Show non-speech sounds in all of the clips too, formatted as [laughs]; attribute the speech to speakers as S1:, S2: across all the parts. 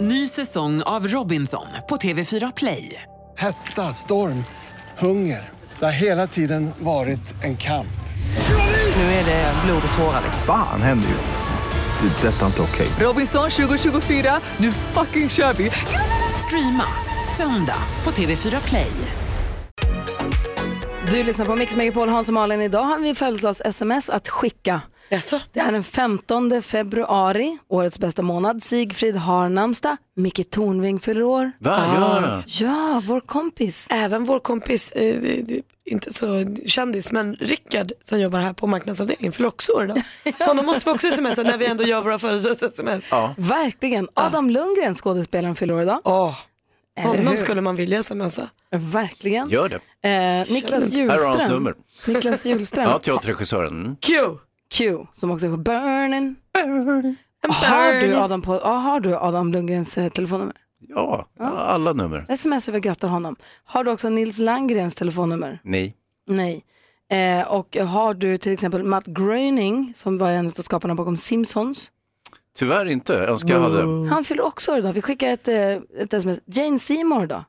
S1: Ny säsong av Robinson på TV4 Play.
S2: Hetta, storm, hunger. Det har hela tiden varit en kamp.
S1: Nu är det blod och tårar.
S3: Fan händer just nu. Det. är Detta är inte okej.
S1: Robinson 2024, nu fucking kör vi! Streama söndag på TV4 Play.
S4: Du lyssnar på Mix Megapol, Hans och Malin. Idag har vi födelsedags-sms att skicka. Det är den 15 februari, årets bästa månad. Sigfrid har namnsdag. Micke Tornving fyller år.
S5: Va, gör han?
S4: Ja, vår kompis.
S6: Även vår kompis, eh, det- det- inte så kändis, men Rickard som jobbar här på marknadsavdelningen fyller också år
S4: [laughs]
S6: idag. Honom måste vi också smsa när vi ändå gör våra födelsedags-sms. Ja.
S4: Verkligen. Adam Lundgren, skådespelaren, fyller år idag. Eller hur?
S6: Honom skulle man vilja smsa.
S4: Verkligen.
S5: Gör det.
S4: Eh, Niklas
S5: Här har hans
S4: Hjulström.
S5: nummer. [laughs]
S4: Niklas Hjulström.
S5: Ja, teaterregissören. Mm.
S6: Q!
S4: Q, som också är Burning. Har du Adam, på, ja, har du Adam Lundgrens eh, telefonnummer?
S5: Ja, ja, alla nummer.
S4: Sms vi grattar honom. Har du också Nils Landgrens telefonnummer?
S5: Nej.
S4: Nej. Eh, och har du till exempel Matt Groening som var en av skaparna bakom Simpsons.
S5: Tyvärr inte. Jag önskar jag hade. Mm,
S4: Han fyller också år idag. Vi skickar ett, eh, ett sms. Jane Seymour då?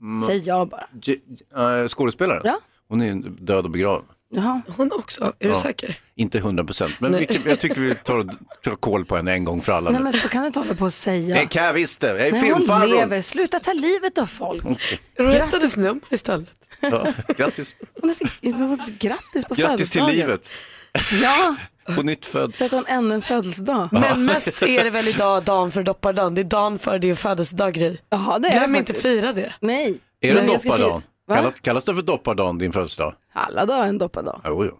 S5: Mm.
S4: Säger jag bara.
S5: J- eh, skådespelaren?
S4: Ja.
S5: Hon är ju död och begraven.
S4: Jaha.
S6: Hon också, är du
S5: Ja.
S6: säker?
S5: Inte 100 procent, men vi, jag tycker vi tar, tar koll på henne en gång för alla.
S4: Nej
S5: nu.
S4: men så kan du inte hålla på och säga.
S5: Nej, kan jag visst det. Jag är
S4: Nej, hon lever.
S5: filmfarbrorn.
S4: Sluta ta livet av folk.
S5: Mm.
S6: Rättades nummer istället.
S5: Ja, grattis.
S4: Hon heter, grattis på
S5: grattis till
S4: födelsedagen.
S5: livet.
S4: Ja,
S5: På nytt född.
S4: för att hon ännu en födelsedag.
S6: Men mest är det väl idag dagen för doppardagen. Det är dagen för din födelsedag Gry.
S4: Jaha, det är
S6: Glöm
S4: det
S6: inte
S4: faktiskt.
S6: fira det.
S4: Nej.
S5: Är
S4: Men
S5: det
S4: jag ska fira-
S5: doppardagen?
S4: Va?
S5: Kallas, kallas det för doppardagen, din födelsedag?
S4: Alla dagar är en doppardag.
S5: Jo, jo.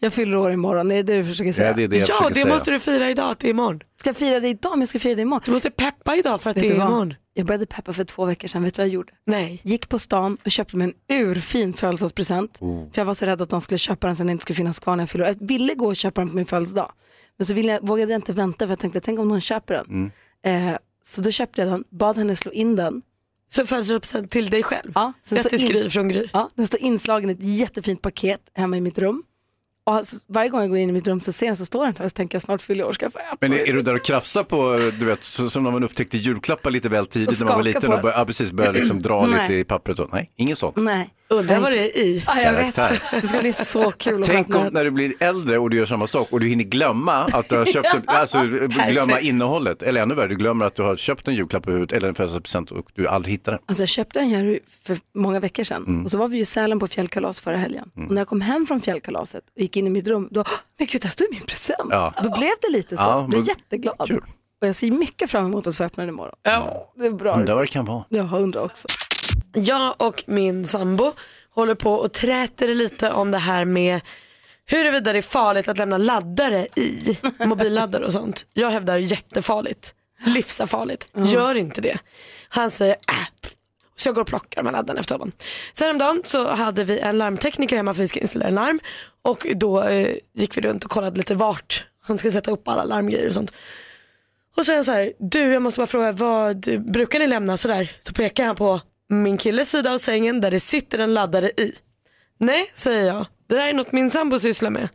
S4: Jag fyller år imorgon, är det det du försöker säga?
S5: Ja, det är det jag
S6: ja,
S5: försöker
S6: det
S5: säga.
S6: måste du fira idag, att det är imorgon.
S4: Ska jag fira det idag, men jag ska fira det imorgon.
S6: Du måste peppa idag för att
S4: Vet
S6: det
S4: du
S6: är
S4: vad?
S6: imorgon.
S4: Jag började peppa för två veckor sedan, vet du vad jag gjorde?
S6: Nej.
S4: Gick på stan och köpte mig en urfin födelsedagspresent.
S5: Oh.
S4: För jag var så rädd att de skulle köpa den så den inte skulle finnas kvar när jag fyllde år. Jag ville gå och köpa den på min födelsedag. Men så ville jag, vågade jag inte vänta för jag tänkte, tänk om någon köper
S5: Mm.
S4: den. Eh, så då köpte jag den, bad henne slå in den.
S6: Så födelsedagspresent till dig själv.
S4: Ja, sen står
S6: Grattis
S4: in-
S6: Gry från Gry.
S4: Ja, den står inslagen i ett jättefint paket hemma i mitt rum. Och alltså, varje gång jag går in i mitt rum så ser jag så står den här och så tänker jag snart fyller jag år ska jag få äta
S5: Men
S4: den.
S5: är, är du där och krafsar på, du vet, så- som när man upptäckte julklappar lite väl
S4: Och
S5: tidigt när man var
S4: skaka
S5: liten
S4: på
S5: och började, ja, precis, började liksom dra
S4: [clears throat] Nej.
S5: lite i pappret. Och, nej, inget sånt.
S4: Nej.
S6: Undrar vad det är i.
S4: Ja, jag vet.
S5: Karaktär.
S4: Det ska bli [laughs] så kul att få
S5: Tänk
S4: öppna
S5: om
S4: den.
S5: när du blir äldre och du gör samma sak och du hinner glömma att
S4: [laughs]
S5: du har köpt, en, alltså glömma innehållet. Eller ännu värre, du glömmer att du har köpt en julklapp överhuvudtaget, eller en födelsedagspresent och du aldrig hittar den.
S4: Alltså jag köpte den här för många veckor sedan
S5: Mm.
S4: och så var vi ju i Sälen på fjällkalas förra helgen. Och när jag kom hem från fjällkalaset och gick in i mitt rum, då, "Ah, men gud, där står ju min present.
S5: Ja.
S4: Då blev det lite så,
S5: Ja,
S4: jag blev
S5: men-
S4: jätteglad.
S5: Kul.
S4: Och jag ser mycket fram emot att få öppna den imorgon. Det är bra.
S5: Undrar vad det kan vara.
S4: Jag undrar också.
S6: Jag och min sambo håller på och träter lite om det här med huruvida det är farligt att lämna laddare i mobilladdare och sånt. Jag hävdar jättefarligt, livsfarligt. Gör inte det. Han säger äh. Så jag går och plockar de här laddarna efter honom. Sen om dagen så hade vi en larmtekniker hemma för vi ska installera en larm och då eh, gick vi runt och kollade lite vart han ska sätta upp alla larmgrejer och sånt. Och sen så här, du jag måste bara fråga, vad brukar ni lämna sådär? Så pekar han på min killes sida av sängen där det sitter en laddare i. Nej, säger jag, det där är något min sambo sysslar med.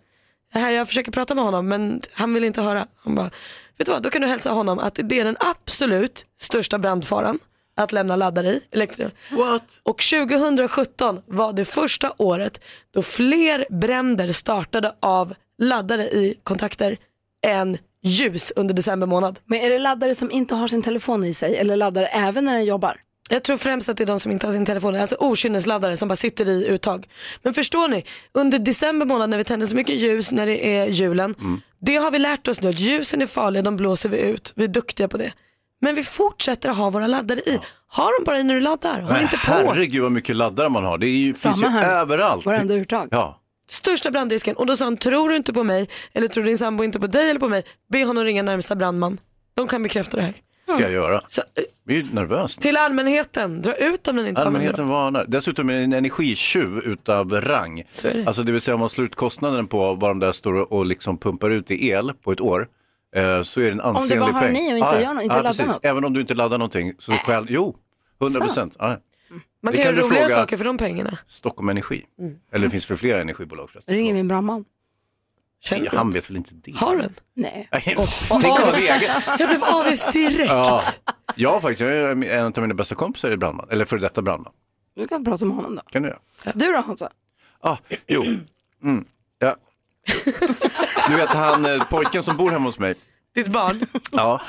S6: Det här, jag försöker prata med honom men han vill inte höra. Han bara, vet du vad, då kan du hälsa honom att det är den absolut största brandfaran att lämna laddare i. Elektri-
S5: What?
S6: och 2017 var det första året då fler bränder startade av laddare i kontakter än ljus under december månad.
S4: Men är det laddare som inte har sin telefon i sig eller laddare även när den jobbar?
S6: Jag tror främst att det är de som inte har sin telefon, alltså okynnesladdare som bara sitter i uttag. Men förstår ni, under december månad när vi tänder så mycket ljus när det är julen,
S5: Mm.
S6: det har vi lärt oss nu att ljusen är farliga, de blåser vi ut, vi är duktiga på det. Men vi fortsätter att ha våra laddare i. Ha dem bara i när du laddar, håll
S5: Men
S6: inte på.
S5: herregud vad mycket laddare man har. Det är ju, finns ju
S4: Samma här.
S5: överallt.
S4: Varenda uttag.
S5: Ja.
S6: Största brandrisken. Och då sa han, tror du inte på mig eller tror din sambo inte på dig eller på mig, be honom ringa närmsta brandman. De kan bekräfta det här.
S5: ska
S4: Mm.
S5: jag göra.
S6: Så, eh,
S5: Jag är ju nervös.
S6: till allmänheten, dra ut om den inte använder dem.
S5: Allmänheten varnar. Dessutom är det en energitjuv utav rang.
S6: Så är det.
S5: Alltså det vill säga om man slår ut kostnaden på vad de där står och liksom pumpar ut i el på ett år. eh, Så är det en ansenlig
S4: bara har
S5: peng.
S4: ni och inte
S5: Ja,
S4: gör nå- inte
S5: ja,
S4: laddar
S5: precis.
S4: något.
S5: Även om du inte laddar någonting. Så själv, jo, 100 procent. Ja.
S6: Man
S5: Det
S6: kan
S5: kan
S6: göra
S5: du
S6: roligare
S5: fråga-
S6: saker för de pengarna.
S4: Mm.
S5: Stockholm Energi. Eller det finns för flera energibolag förresten.
S4: Ringer min brandman.
S6: Känner du?
S5: Han vet väl inte det?
S6: Har du en?
S7: Nej.
S5: Nej, [laughs] Tänk om det egen.
S6: Jag blev avis direkt.
S5: Ja, jag har faktiskt, jag är en av mina bästa kompisar är brandman, eller före detta brandman.
S7: Nu kan vi prata med honom då.
S5: Kan du göra?
S7: Du då Hansa?
S5: Ah, jo. Mm. Ja. Du vet han eh, pojken som bor hemma hos mig.
S6: Ditt barn.
S5: Ja.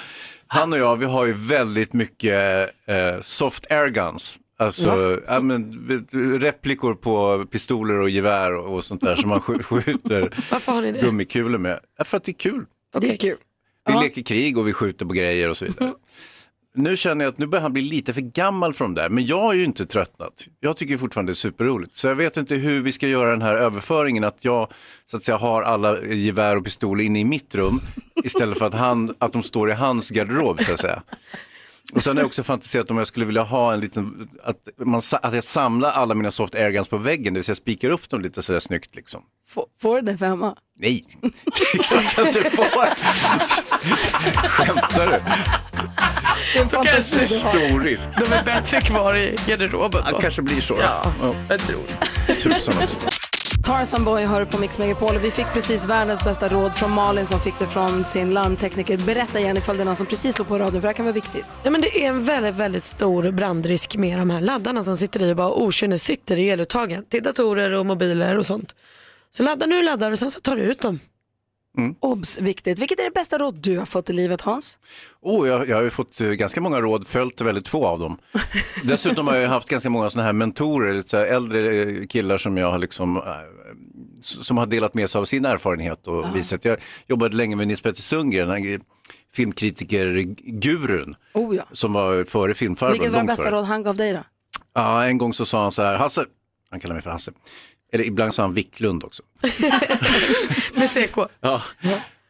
S5: Han och jag, vi har ju väldigt mycket eh, soft air guns. Alltså ja, men, vet du, replikor på pistoler och gevär och, och sånt där som man sk- skjuter
S6: Varför har ni det?
S5: gummikulor med. Ja, För att det är kul.
S7: Det är kul.
S5: Vi
S7: Ja.
S5: leker krig och vi skjuter på grejer och så vidare. Nu känner jag att nu börjar han bli lite för gammal för de där, men jag är ju inte tröttnat. Jag tycker fortfarande det är superroligt. Så jag vet inte hur vi ska göra den här överföringen, att jag så att säga har alla gevär och pistoler inne i mitt rum istället för att, han, att de står i hans garderob så att säga. Och sen har jag också fantiserat om jag skulle vilja ha en liten, att, man, sa- att jag samlar alla mina soft airguns på väggen, det vill säga spikar upp dem lite sådär snyggt liksom.
S7: Får, får du det för hemma?
S5: Nej, det är klart jag inte får. Skämtar du?
S7: Det är en fantasi du har.
S5: Stor risk.
S6: De är bättre kvar i garderoben
S5: Ja, kanske blir så.
S6: Ja,
S5: Ja,
S6: jag tror.
S5: tusan också.
S7: Tarzan Boy hör på Mix Megapol och vi fick precis världens bästa råd från Malin som fick det från sin larmtekniker. Berätta igen ifall det är någon som precis slog på radion för det här kan vara viktigt.
S6: Ja, men det är en väldigt, väldigt stor brandrisk med de här laddarna som sitter i och bara okynne sitter i eluttagen till datorer och mobiler och sånt. Så laddar nu laddar och sen så tar du ut dem.
S7: Obs! Viktigt. Vilket är det bästa råd du har fått i livet Hans?
S5: Oh, jag, jag har ju fått eh, ganska många råd, följt väldigt få av dem. Dessutom har jag ju haft ganska många sådana här mentorer, lite så här äldre eh, killar som jag har liksom, eh, s- som har delat med sig av sin erfarenhet och visat. Jag jobbade länge med Nils Petter Sundgren, den här filmkritiker-gurun,
S7: Oh ja.
S5: som var före filmfarbrorn.
S7: Vilket var det
S5: långt
S7: bästa
S5: före.
S7: råd han gav dig då?
S5: Ja, en gång så sa han så här, Hasse, han kallar mig för Hasse, eller ibland sa han Wiklund också.
S6: Med CK.
S5: Ja.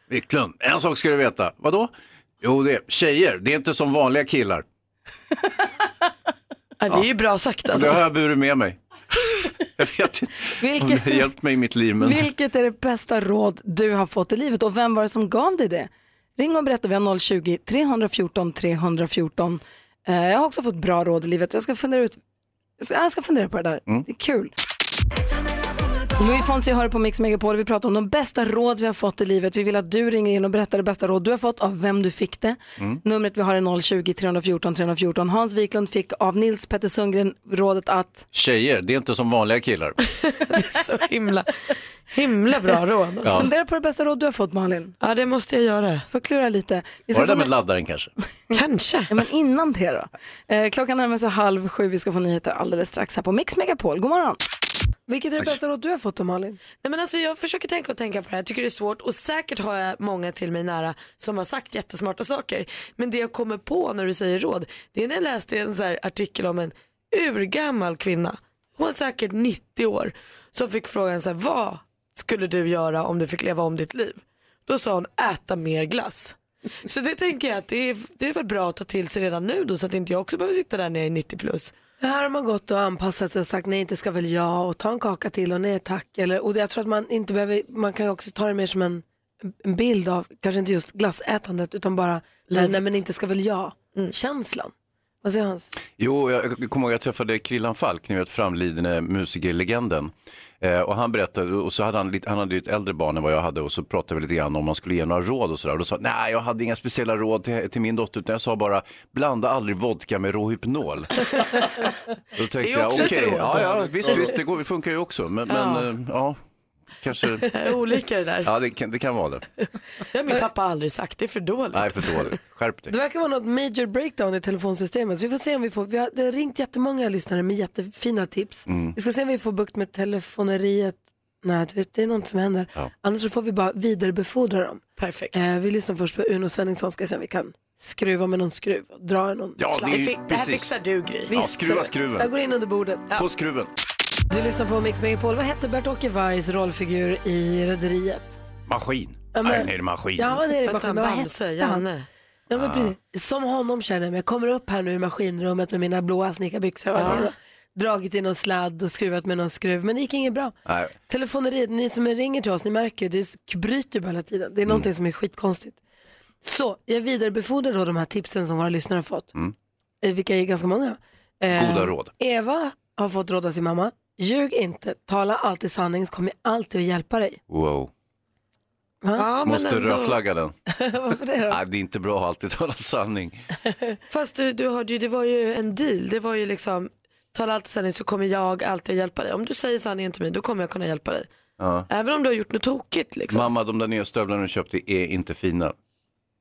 S5: Wiklund, en sak ska du veta. Vadå? Jo, det är tjejer, det är inte som vanliga killar.
S6: Ja, det är ju bra sagt
S5: Det har
S6: alltså.
S5: jag burit med mig. Jag vet inte om det
S7: Vilket,
S5: har hjälpt mig i mitt liv, men
S7: vilket är det bästa råd du har fått i livet och vem var det som gav dig det? Ring och berätta, vi har 020-314 314. Eh, Jag har också fått bra råd i livet. Jag ska fundera, ut, jag ska fundera på det där.
S5: Mm.
S7: Det är kul. Louis Fonsi hör på Mix Megapol. Vi pratar om de bästa råd vi har fått i livet. Vi vill att du ringer in och berättar det bästa råd du har fått av vem du fick det.
S5: Mm.
S7: Numret vi har är 020-314 314. Hans Wiklund fick av Nils Petter Sundgren rådet att
S5: tjejer, det är inte som vanliga killar.
S6: Så himla, himla bra råd. Alltså.
S5: Ja.
S7: fundera på det bästa råd du har fått Malin.
S6: Ja, det måste jag göra.
S7: Förklara lite. Vi
S5: Var det
S7: få
S5: där med
S7: med-
S5: laddaren kanske?
S6: Kanske.
S7: Ja, men innan det då. Eh, klockan närmar sig halv sju. Vi ska få nyheter alldeles strax här på Mix Megapol. God morgon. Vilket är det bästa råd du har fått då Malin?
S6: Nej, men alltså, jag försöker tänka och tänka på det här, jag tycker det är svårt och säkert har jag många till mig nära som har sagt jättesmarta saker. Men det jag kommer på när du säger råd, det är när jag läste en så här artikel om en urgammal kvinna, hon är säkert 90 år, som fick frågan så här, vad skulle du göra om du fick leva om ditt liv? Då sa hon äta mer glass. Så det tänker jag att det är, det är väl bra att ta till sig redan nu då så att inte jag också behöver sitta där när jag är 90 plus.
S4: Här har man gått och anpassat sig och sagt nej, inte ska väl jag och ta en kaka till och nej Eh, tack. Eller, och jag tror att man inte behöver, man kan ju också ta det mer som en, en bild av, kanske inte just glassätandet, utan bara nej, nej men inte ska väl
S6: Mm.
S4: jag-känslan. Vad säger Hans?
S5: Jo, jag jag kommer ihåg jag träffade Krillan Falk, ni vet framlidne musikerlegenden. Eh, och han berättade, och så hade han, lite, han hade ju ett äldre barn än vad jag hade och så pratade vi lite grann om man skulle ge några råd och sådär. Och då sa han, nej jag hade inga speciella råd till, till min dotter utan jag sa bara, blanda aldrig vodka med Rohypnol. då tänkte
S6: ju
S5: jag,
S6: också
S5: okej,
S6: ett råd.
S5: ja, ja visst, visst, det, går, det funkar ju också. Men ja, men, eh, ja kanske,
S6: Det är olika det där.
S5: ja det kan, det kan vara det.
S6: Ja, min pappa har aldrig sagt det är för dåligt.
S5: Nej, för dåligt. Skärp dig.
S4: Det verkar vara något major breakdown i telefonsystemet. Så vi får se om vi får, vi har, det har ringt jättemånga lyssnare med jättefina tips.
S5: Mm.
S4: Vi ska se om vi får bukt med telefoneriet. Nej, du vet, det är något som händer.
S5: Ja.
S4: Annars så får vi bara vidarebefordra dem.
S6: Perfekt.
S4: Eh, vi lyssnar först på Uno Svenningsson, ska se om vi kan skruva med någon skruv och dra i någon
S5: Ja,
S4: sladd.
S5: det är
S6: Det,
S5: ju
S6: fi- det här
S5: precis.
S6: fixar du Gry.
S5: Ja,
S4: Visst,
S5: skruva
S4: så- Jag
S5: skruven.
S4: går in under bordet.
S5: På skruven.
S4: Du lyssnar på Mix Megapol. Vad hette Bert-Åke Vargs rollfigur i Rederiet?
S5: Maskin.
S4: Ja, men-
S5: Nej, nej, det är maskin.
S4: Ja, han var nere i
S6: Vänta,
S4: maskinen. men Vad
S6: Bamse,
S4: hette han?
S6: Janne.
S4: Ja, men precis. Som honom känner jag mig. Jag kommer upp här nu i maskinrummet med mina blåa snickarbyxor. Ja. Dragit i någon sladd och skruvat med någon skruv. Men det gick inget bra.
S5: Nej.
S4: Telefoneriet, ni som ringer till oss, ni märker ju, det sk- bryter ju bara hela tiden.
S5: Mm.
S4: Det är någonting som är skitkonstigt. Så, jag vidarebefordrar då de här tipsen som våra lyssnare har fått. Eh, Vilka är ganska många. Eh,
S5: Mm. Goda råd.
S4: Eva har fått råda sin mamma. Ljug inte, tala alltid sanning så kommer jag alltid att hjälpa dig.
S5: Wow.
S4: Ja, men
S5: Måste
S4: ändå.
S5: rödflagga den.
S4: Varför det då?
S5: Nej, det är inte bra att alltid tala sanning.
S6: Fast du, du hörde ju, det var ju en deal. Det var ju liksom, tala alltid sanning så kommer jag alltid hjälpa dig. Om du säger sanningen till mig då kommer jag kunna hjälpa dig.
S5: Ja.
S6: Även om du har gjort något tokigt liksom.
S5: Mamma, de där nya stövlarna du köpte är inte fina.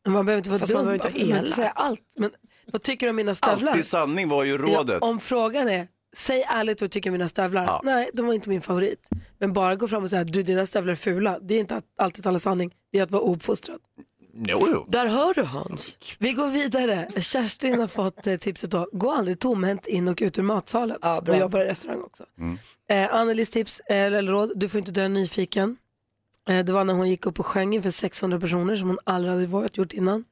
S4: Man behöver inte vara
S6: Fast
S4: dum.
S6: man behöver inte vara
S4: behöver
S6: elak.
S4: säga allt. Men vad tycker du om mina stövlar?
S5: Alltid sanning var ju rådet.
S4: Ja, om frågan är, säg ärligt vad du tycker om mina stövlar.
S5: Ja.
S4: Nej, de var inte min favorit. Men bara gå fram och säga, du dina stövlar är fula. Det är inte att alltid tala sanning, det är att vara ouppfostrad.
S5: Jo, jo.
S6: Där hör du Hans.
S4: Vi går vidare. Kerstin har fått eh, tipset då, gå aldrig tomhänt in och ut ur matsalen. Ja, bra. Och jobbar i restaurang också.
S5: Mm.
S4: Eh, Annelies tips, eh, eller råd, du får inte dö nyfiken. Eh, det var när hon gick upp och sjöng inför 600 personer som hon aldrig hade vågat gjort innan.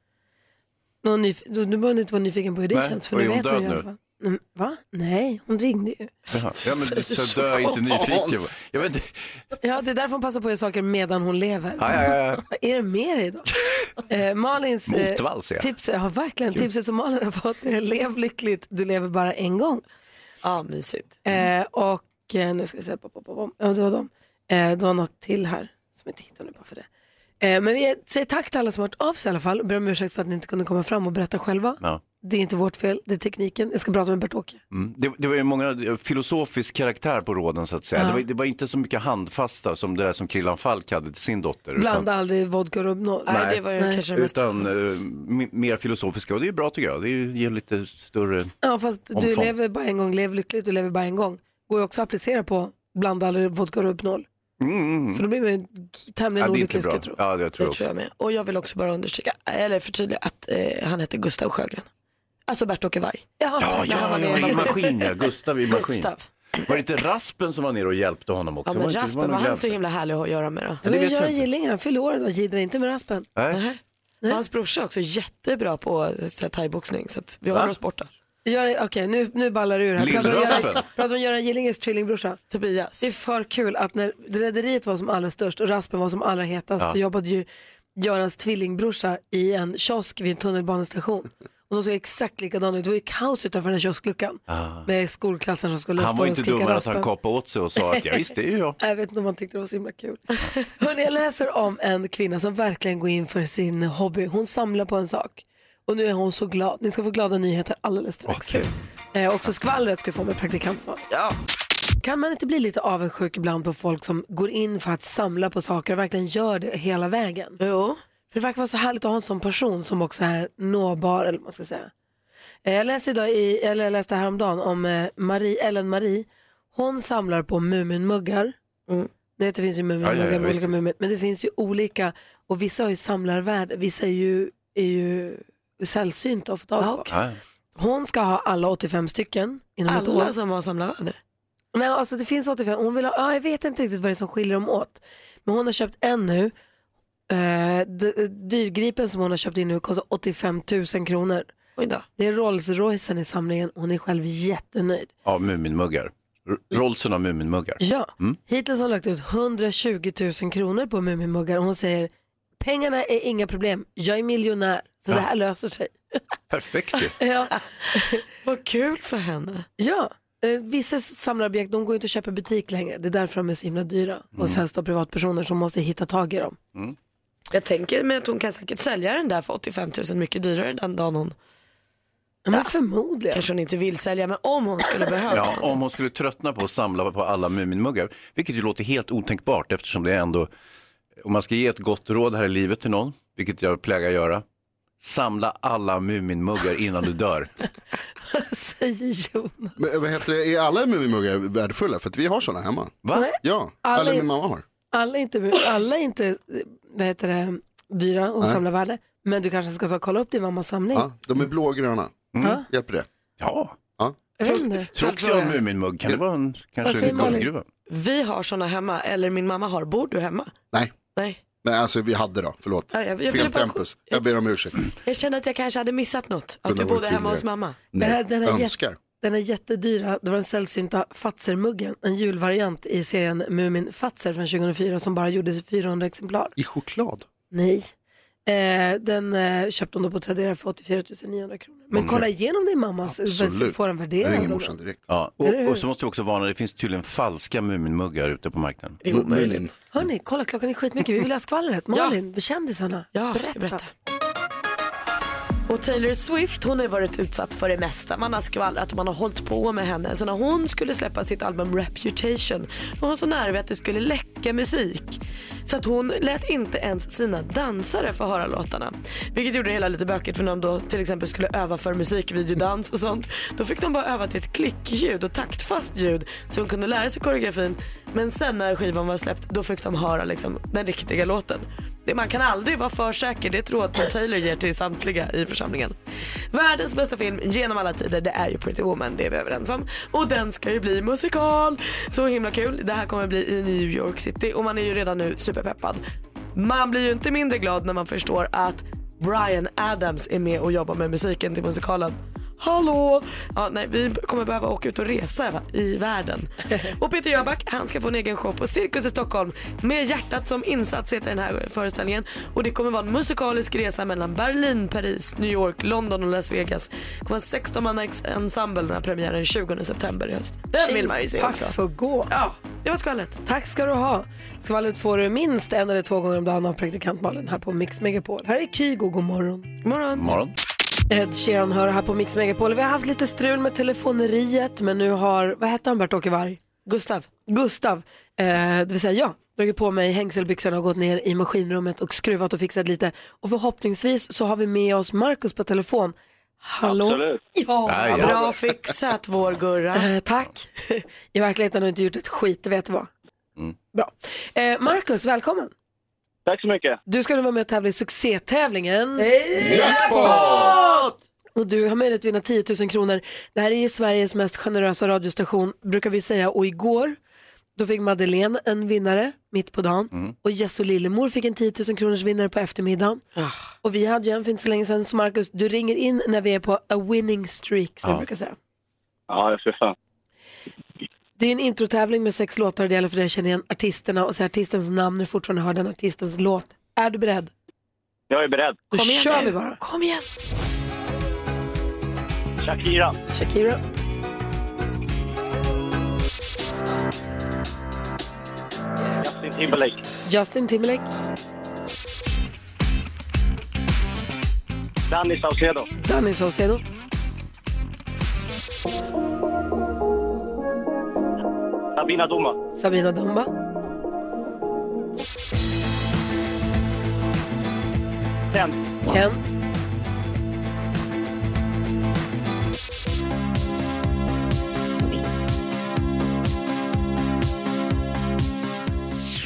S4: Någon nyf- då- nu behöver hon inte vara nyfiken på hur det
S5: Nej,
S4: känns, för
S5: och
S4: nu
S5: är hon
S4: vet
S5: död
S4: hon ju i
S5: nu?
S4: alla fall. Mm, Va? Nej, hon ringde ju.
S5: Jaha. Ja, men du så dö inte nyfiken. va? Jag vet inte.
S4: Ja, det är därför hon passar på att göra saker medan hon lever.
S5: Ja, ja, ja.
S4: Vad är det
S5: [laughs]
S4: med dig idag? Eh, Malins eh,
S5: Motvalls, ja.
S4: tips, ja, verkligen, tipset som Malin har fått är lev lyckligt, du lever bara en gång.
S6: Ja, mysigt.
S5: Mm.
S4: Eh, och eh, nu ska vi se, pop, pop, pop, pop. ja det var dem. Eh, det var något till här som jag inte hittar nu bara för det. Eh, men vi säger tack till alla som har hört av sig i alla fall. Ber om ursäkt för att ni inte kunde komma fram och berätta själva.
S5: Ja.
S4: Det är inte vårt fel, det är tekniken. Jag ska prata med Bert-Åke.
S5: Mm. Det, det var ju många eh, filosofisk karaktär på råden så att säga. Det, var, det var inte så mycket handfasta som det där som Krillan Falk hade till sin dotter.
S4: Blanda aldrig vodka och Rohypnol.
S6: Nej, det var ju kanske det
S5: Utan, utan
S6: mest.
S5: eh, m- mer filosofiska och det är ju bra tycker jag. Det är ju- ger lite större... Mm,
S4: Ja, fast du
S5: Omfång.
S4: lever bara en gång, lev lyckligt, du lever bara en gång. Går ju också att applicera på blanda aldrig vodka och Rohypnol.
S5: Mm, Mm,
S4: För då blir man ju
S5: ja,
S4: tämligen
S5: det är
S4: olycklig
S5: inte
S4: ska
S5: bra.
S4: jag tro.
S5: Ja, jag tror
S6: Det
S5: också.
S6: tror jag med. Och jag vill också bara understryka, eller förtydliga att eh, han heter Gustav Sjögren. Alltså Bert-Åke Varg.
S5: Ja,
S6: när han
S5: ja,
S6: var med i
S5: ja, i
S6: Mamma
S5: maskin ja. Gustav i maskin.
S6: Gustav.
S5: Var det inte Raspen som var nere och hjälpte honom också?
S6: Ja men
S5: det inte- det
S6: Raspen,
S5: någon
S6: var han
S5: glädje?
S6: så himla härlig att göra med då?
S4: Det
S5: det
S4: var ju
S5: vet jag
S4: Göran
S5: inte.
S4: Gillingen, han fyller år idag, jiddra inte med raspen.
S5: Nej.
S6: Nej. Hans brorsa är också jättebra på eh, så här, thaiboxning så att vi håller oss borta.
S4: Göran- Okej, nu, nu ballar du ur här. Pratar om
S5: Lillraspen.
S4: Göran- Pratar om Göran Gillingens tvillingbrorsa.
S6: Tobias.
S4: Det är för kul att när rederiet var som allra störst och raspen var som allra hetast så jobbade ju Görans tvillingbrorsa i en kiosk vid en tunnelbanestation. Och de såg exakt likadana ut. Det var ju kaos utanför den här kioskluckan med skolklassen som skulle
S5: Ah. Han
S4: stå
S5: var
S4: och
S5: inte
S4: skrika
S5: dummare än att han
S4: raspen.
S5: kapade åt sig och sa att ja, visst det är ju
S6: [laughs]
S5: jag.
S4: Jag vet inte om man tyckte det var så himla kul. [laughs] Hörrni, jag läser om en kvinna som verkligen går in för sin hobby. Hon samlar på en sak. Och nu är hon så glad. Ni ska få glada nyheter alldeles strax.
S5: Okej.
S4: Eh, också skvallret ska vi få med praktikant ja. Kan man inte bli lite avundsjuk ibland på folk som går in för att samla på saker och verkligen gör det hela vägen?
S6: Jo.
S4: För det verkar vara så härligt att ha en sån person som också är nåbar eller vad man ska säga. Eh, Jag läste, idag i, eller jag läste häromdagen om eh, Marie, Ellen Marie. Hon samlar på Muminmuggar.
S6: Mm.
S4: Ni vet, Det finns ju
S5: Ja,
S4: Muminmuggar
S5: ja, ja,
S4: med
S5: visst,
S4: olika
S5: visst.
S4: Mumin. Men det finns ju olika och vissa har ju samlarvärde. Vissa är ju, är ju sällsynta att få tag på.
S5: Ja.
S4: Hon ska ha alla 85 stycken inom ett år.
S6: Alla som har samlarvärde.
S4: Nej, alltså det finns 85. Hon vill ha, ja, jag vet inte riktigt vad det är som skiljer dem åt. Men hon har köpt en nu. Eh, d- dyrgripen som hon har köpt in nu kostar 85 000 kronor.
S6: Oj då.
S4: Det är Rolls Roycen i samlingen. Hon är själv jättenöjd.
S5: Ja, Muminmuggar. R- Rollsen av Muminmuggar.
S4: Ja,
S8: Mm.
S4: hittills har hon lagt ut 120 000 kronor på Muminmuggar och hon säger pengarna är inga problem. Jag är miljonär så det här löser sig.
S5: Perfekt ju.
S4: Ja.
S6: Vad kul för henne.
S4: Ja, eh, vissa samlarobjekt de går inte att köpa i butik längre. Det är därför de är så himla dyra.
S8: Mm.
S4: Och sen står privatpersoner som måste hitta tag i dem.
S6: Jag tänker mig att hon kan säkert sälja den där för 85 000 mycket dyrare den dagen hon,
S4: Ja, men förmodligen.
S6: kanske hon inte vill sälja men om hon skulle
S5: [laughs]
S6: behöva.
S5: Ja, om hon skulle tröttna på att samla på alla Muminmuggar, vilket ju låter helt otänkbart eftersom det är ändå, om man ska ge ett gott råd här i livet till någon, vilket jag plägar göra, samla alla Muminmuggar innan du dör.
S4: Säger Jonas.
S8: Men, vad heter det? Är alla Mumimuggar värdefulla? För att vi har sådana hemma.
S5: Va?
S6: [laughs]
S8: Ja,
S4: Alla
S8: alla,
S4: är-
S8: min mamma har.
S4: Alla är inte, alla är inte eh, vad heter det, dyra och
S8: Nej.
S4: samlar värde. Men du kanske ska ta och kolla upp din mammas samling.
S8: Ja, de är blågröna.
S4: Ja.
S8: Hjälper det?
S5: Mm. Ja,
S4: Jag vet inte.
S5: tror också jag en Muminmugg. Kan det vara en,
S4: Vad
S5: kanske
S4: säger
S5: en
S4: Malin?
S5: guldgruva?
S6: Vi har sådana hemma, eller min mamma har. Bor du hemma?
S8: Nej,
S6: Nej.
S8: men alltså vi hade då. Förlåt.
S6: Ja, jag- jag ville
S8: Fel
S6: bara-
S8: tempus. Jag ber om ursäkt.
S4: Mm.
S6: Jag kände att jag kanske hade missat något. Att
S8: Kunde
S6: du
S8: ha varit
S6: bodde hemma hos
S8: tydligare.
S6: mamma.
S8: Nej,
S4: här- den här jätte-
S8: önskar.
S4: Den är jättedyra. Det var den sällsynta Fatzermuggen. En julvariant i serien Mumin Fatser från 2004 som bara gjordes i 400 exemplar.
S8: I choklad.
S4: Nej. Eh, den eh, köpte hon då på Tradera för 84 900 kronor. Men
S8: Mm.
S4: kolla igenom din mammas, så
S8: Absolut.
S4: får den
S8: Jag
S4: värderad.
S8: ringer
S4: då.
S8: morsan direkt.
S5: Ja,
S4: Eller hur?
S5: och, och så måste vi också varna, det finns tydligen falska Muminmuggar ute på marknaden.
S6: Det är
S8: Mumin.
S6: omöjligt.
S4: Hörni, kolla klockan är skitmycket. Vi vill ha skvallret. Malin, kändisarna.
S6: Ja, jag ska berätta. Och Taylor Swift hon har ju varit utsatt för det mesta. Man har skvallrat och man har hållit på med henne. Så när hon skulle släppa sitt album Reputation var hon så nära vid att det skulle läcka musik. Så att hon lät inte ens sina dansare få höra låtarna. Vilket gjorde det hela lite bökigt för när de då till exempel skulle öva för musikvideodans och sånt. Då fick de bara öva till ett klickljud och taktfast ljud så de kunde lära sig koreografin. Men sen när skivan var släppt då fick de höra liksom, den riktiga låten. Det- Man kan aldrig vara för säker, det är ett råd som Taylor ger till samtliga i församlingen. Världens bästa film genom alla tider, det är ju Pretty Woman, det är vi överens om. Och den ska ju bli musikal! Så himla kul. Det här kommer bli i New York City och man är ju redan nu superpeppad. Man blir ju inte mindre glad när man förstår att Brian Adams är med och jobbar med musiken till musikalen. Hallå! Ja, nej, vi kommer behöva åka ut och resa va, i
S4: [laughs]
S6: världen. Och Peter Jöback, han ska få en egen show på Cirkus i Stockholm. Med hjärtat som insats heter den här föreställningen. Och det kommer vara en musikalisk resa mellan Berlin, Paris, New York, London och Las Vegas. Det kommer vara 16 man ensemble den här premiären 20 september i höst. Den vill man ju se också.
S4: Pax får gå.
S6: Ja, det var skvallret.
S4: Tack ska du ha. Skvallret får du minst en eller två gånger om dagen av praktikant Malin här på Mix Megapol. Här är Kygo, god morgon.
S6: Morgon.
S5: Morgon.
S4: Ed Sheeran hör här på Mix Megapol. Vi har haft lite strul med telefoneriet men nu har, vad hette han Bert-Åke Varg? Gustav. Gustav, eh, det vill säga jag, dragit på mig hängselbyxorna och gått ner i maskinrummet och skruvat och fixat lite. Och förhoppningsvis så har vi med oss Markus på telefon. Hallå?
S9: Absolut.
S4: Ja,
S5: Nej, ja.
S6: Bra fixat vår Gurra.
S4: Eh, tack. [laughs] I verkligheten har du inte gjort ett skit, det vet du vad. Bra. Eh, Markus, välkommen.
S9: Tack så mycket.
S4: Du ska nu vara med och tävla i succétävlingen. Och du har möjlighet att vinna 10 000 kronor. Det här är ju Sveriges mest generösa radiostation, brukar vi säga. Och igår, då fick Madeleine en vinnare mitt på dagen. Och Jess och Lillemor fick en 10 000 kronors vinnare på eftermiddagen.
S9: Ah.
S4: Och vi hade ju en för inte så länge sedan, så Marcus, du ringer in när vi är på a winning streak, som jag brukar säga.
S9: Ja, för fan.
S4: Det är en introtävling med sex låtar, det gäller för dig att känna igen artisterna och säga artistens namn när du fortfarande hör den artistens låt. Är du beredd?
S9: Jag är beredd.
S4: Då
S6: igen
S4: kör
S6: nu.
S4: vi bara.
S6: Kom igen.
S9: Shakira,
S4: Shakira,
S9: Justin Timberlake,
S4: Justin Timberlake,
S9: Danny Saucedo,
S4: Danny Saucedo,
S9: Sabina Duma,
S4: Sabina Dumba,
S9: Ken,
S4: Ken,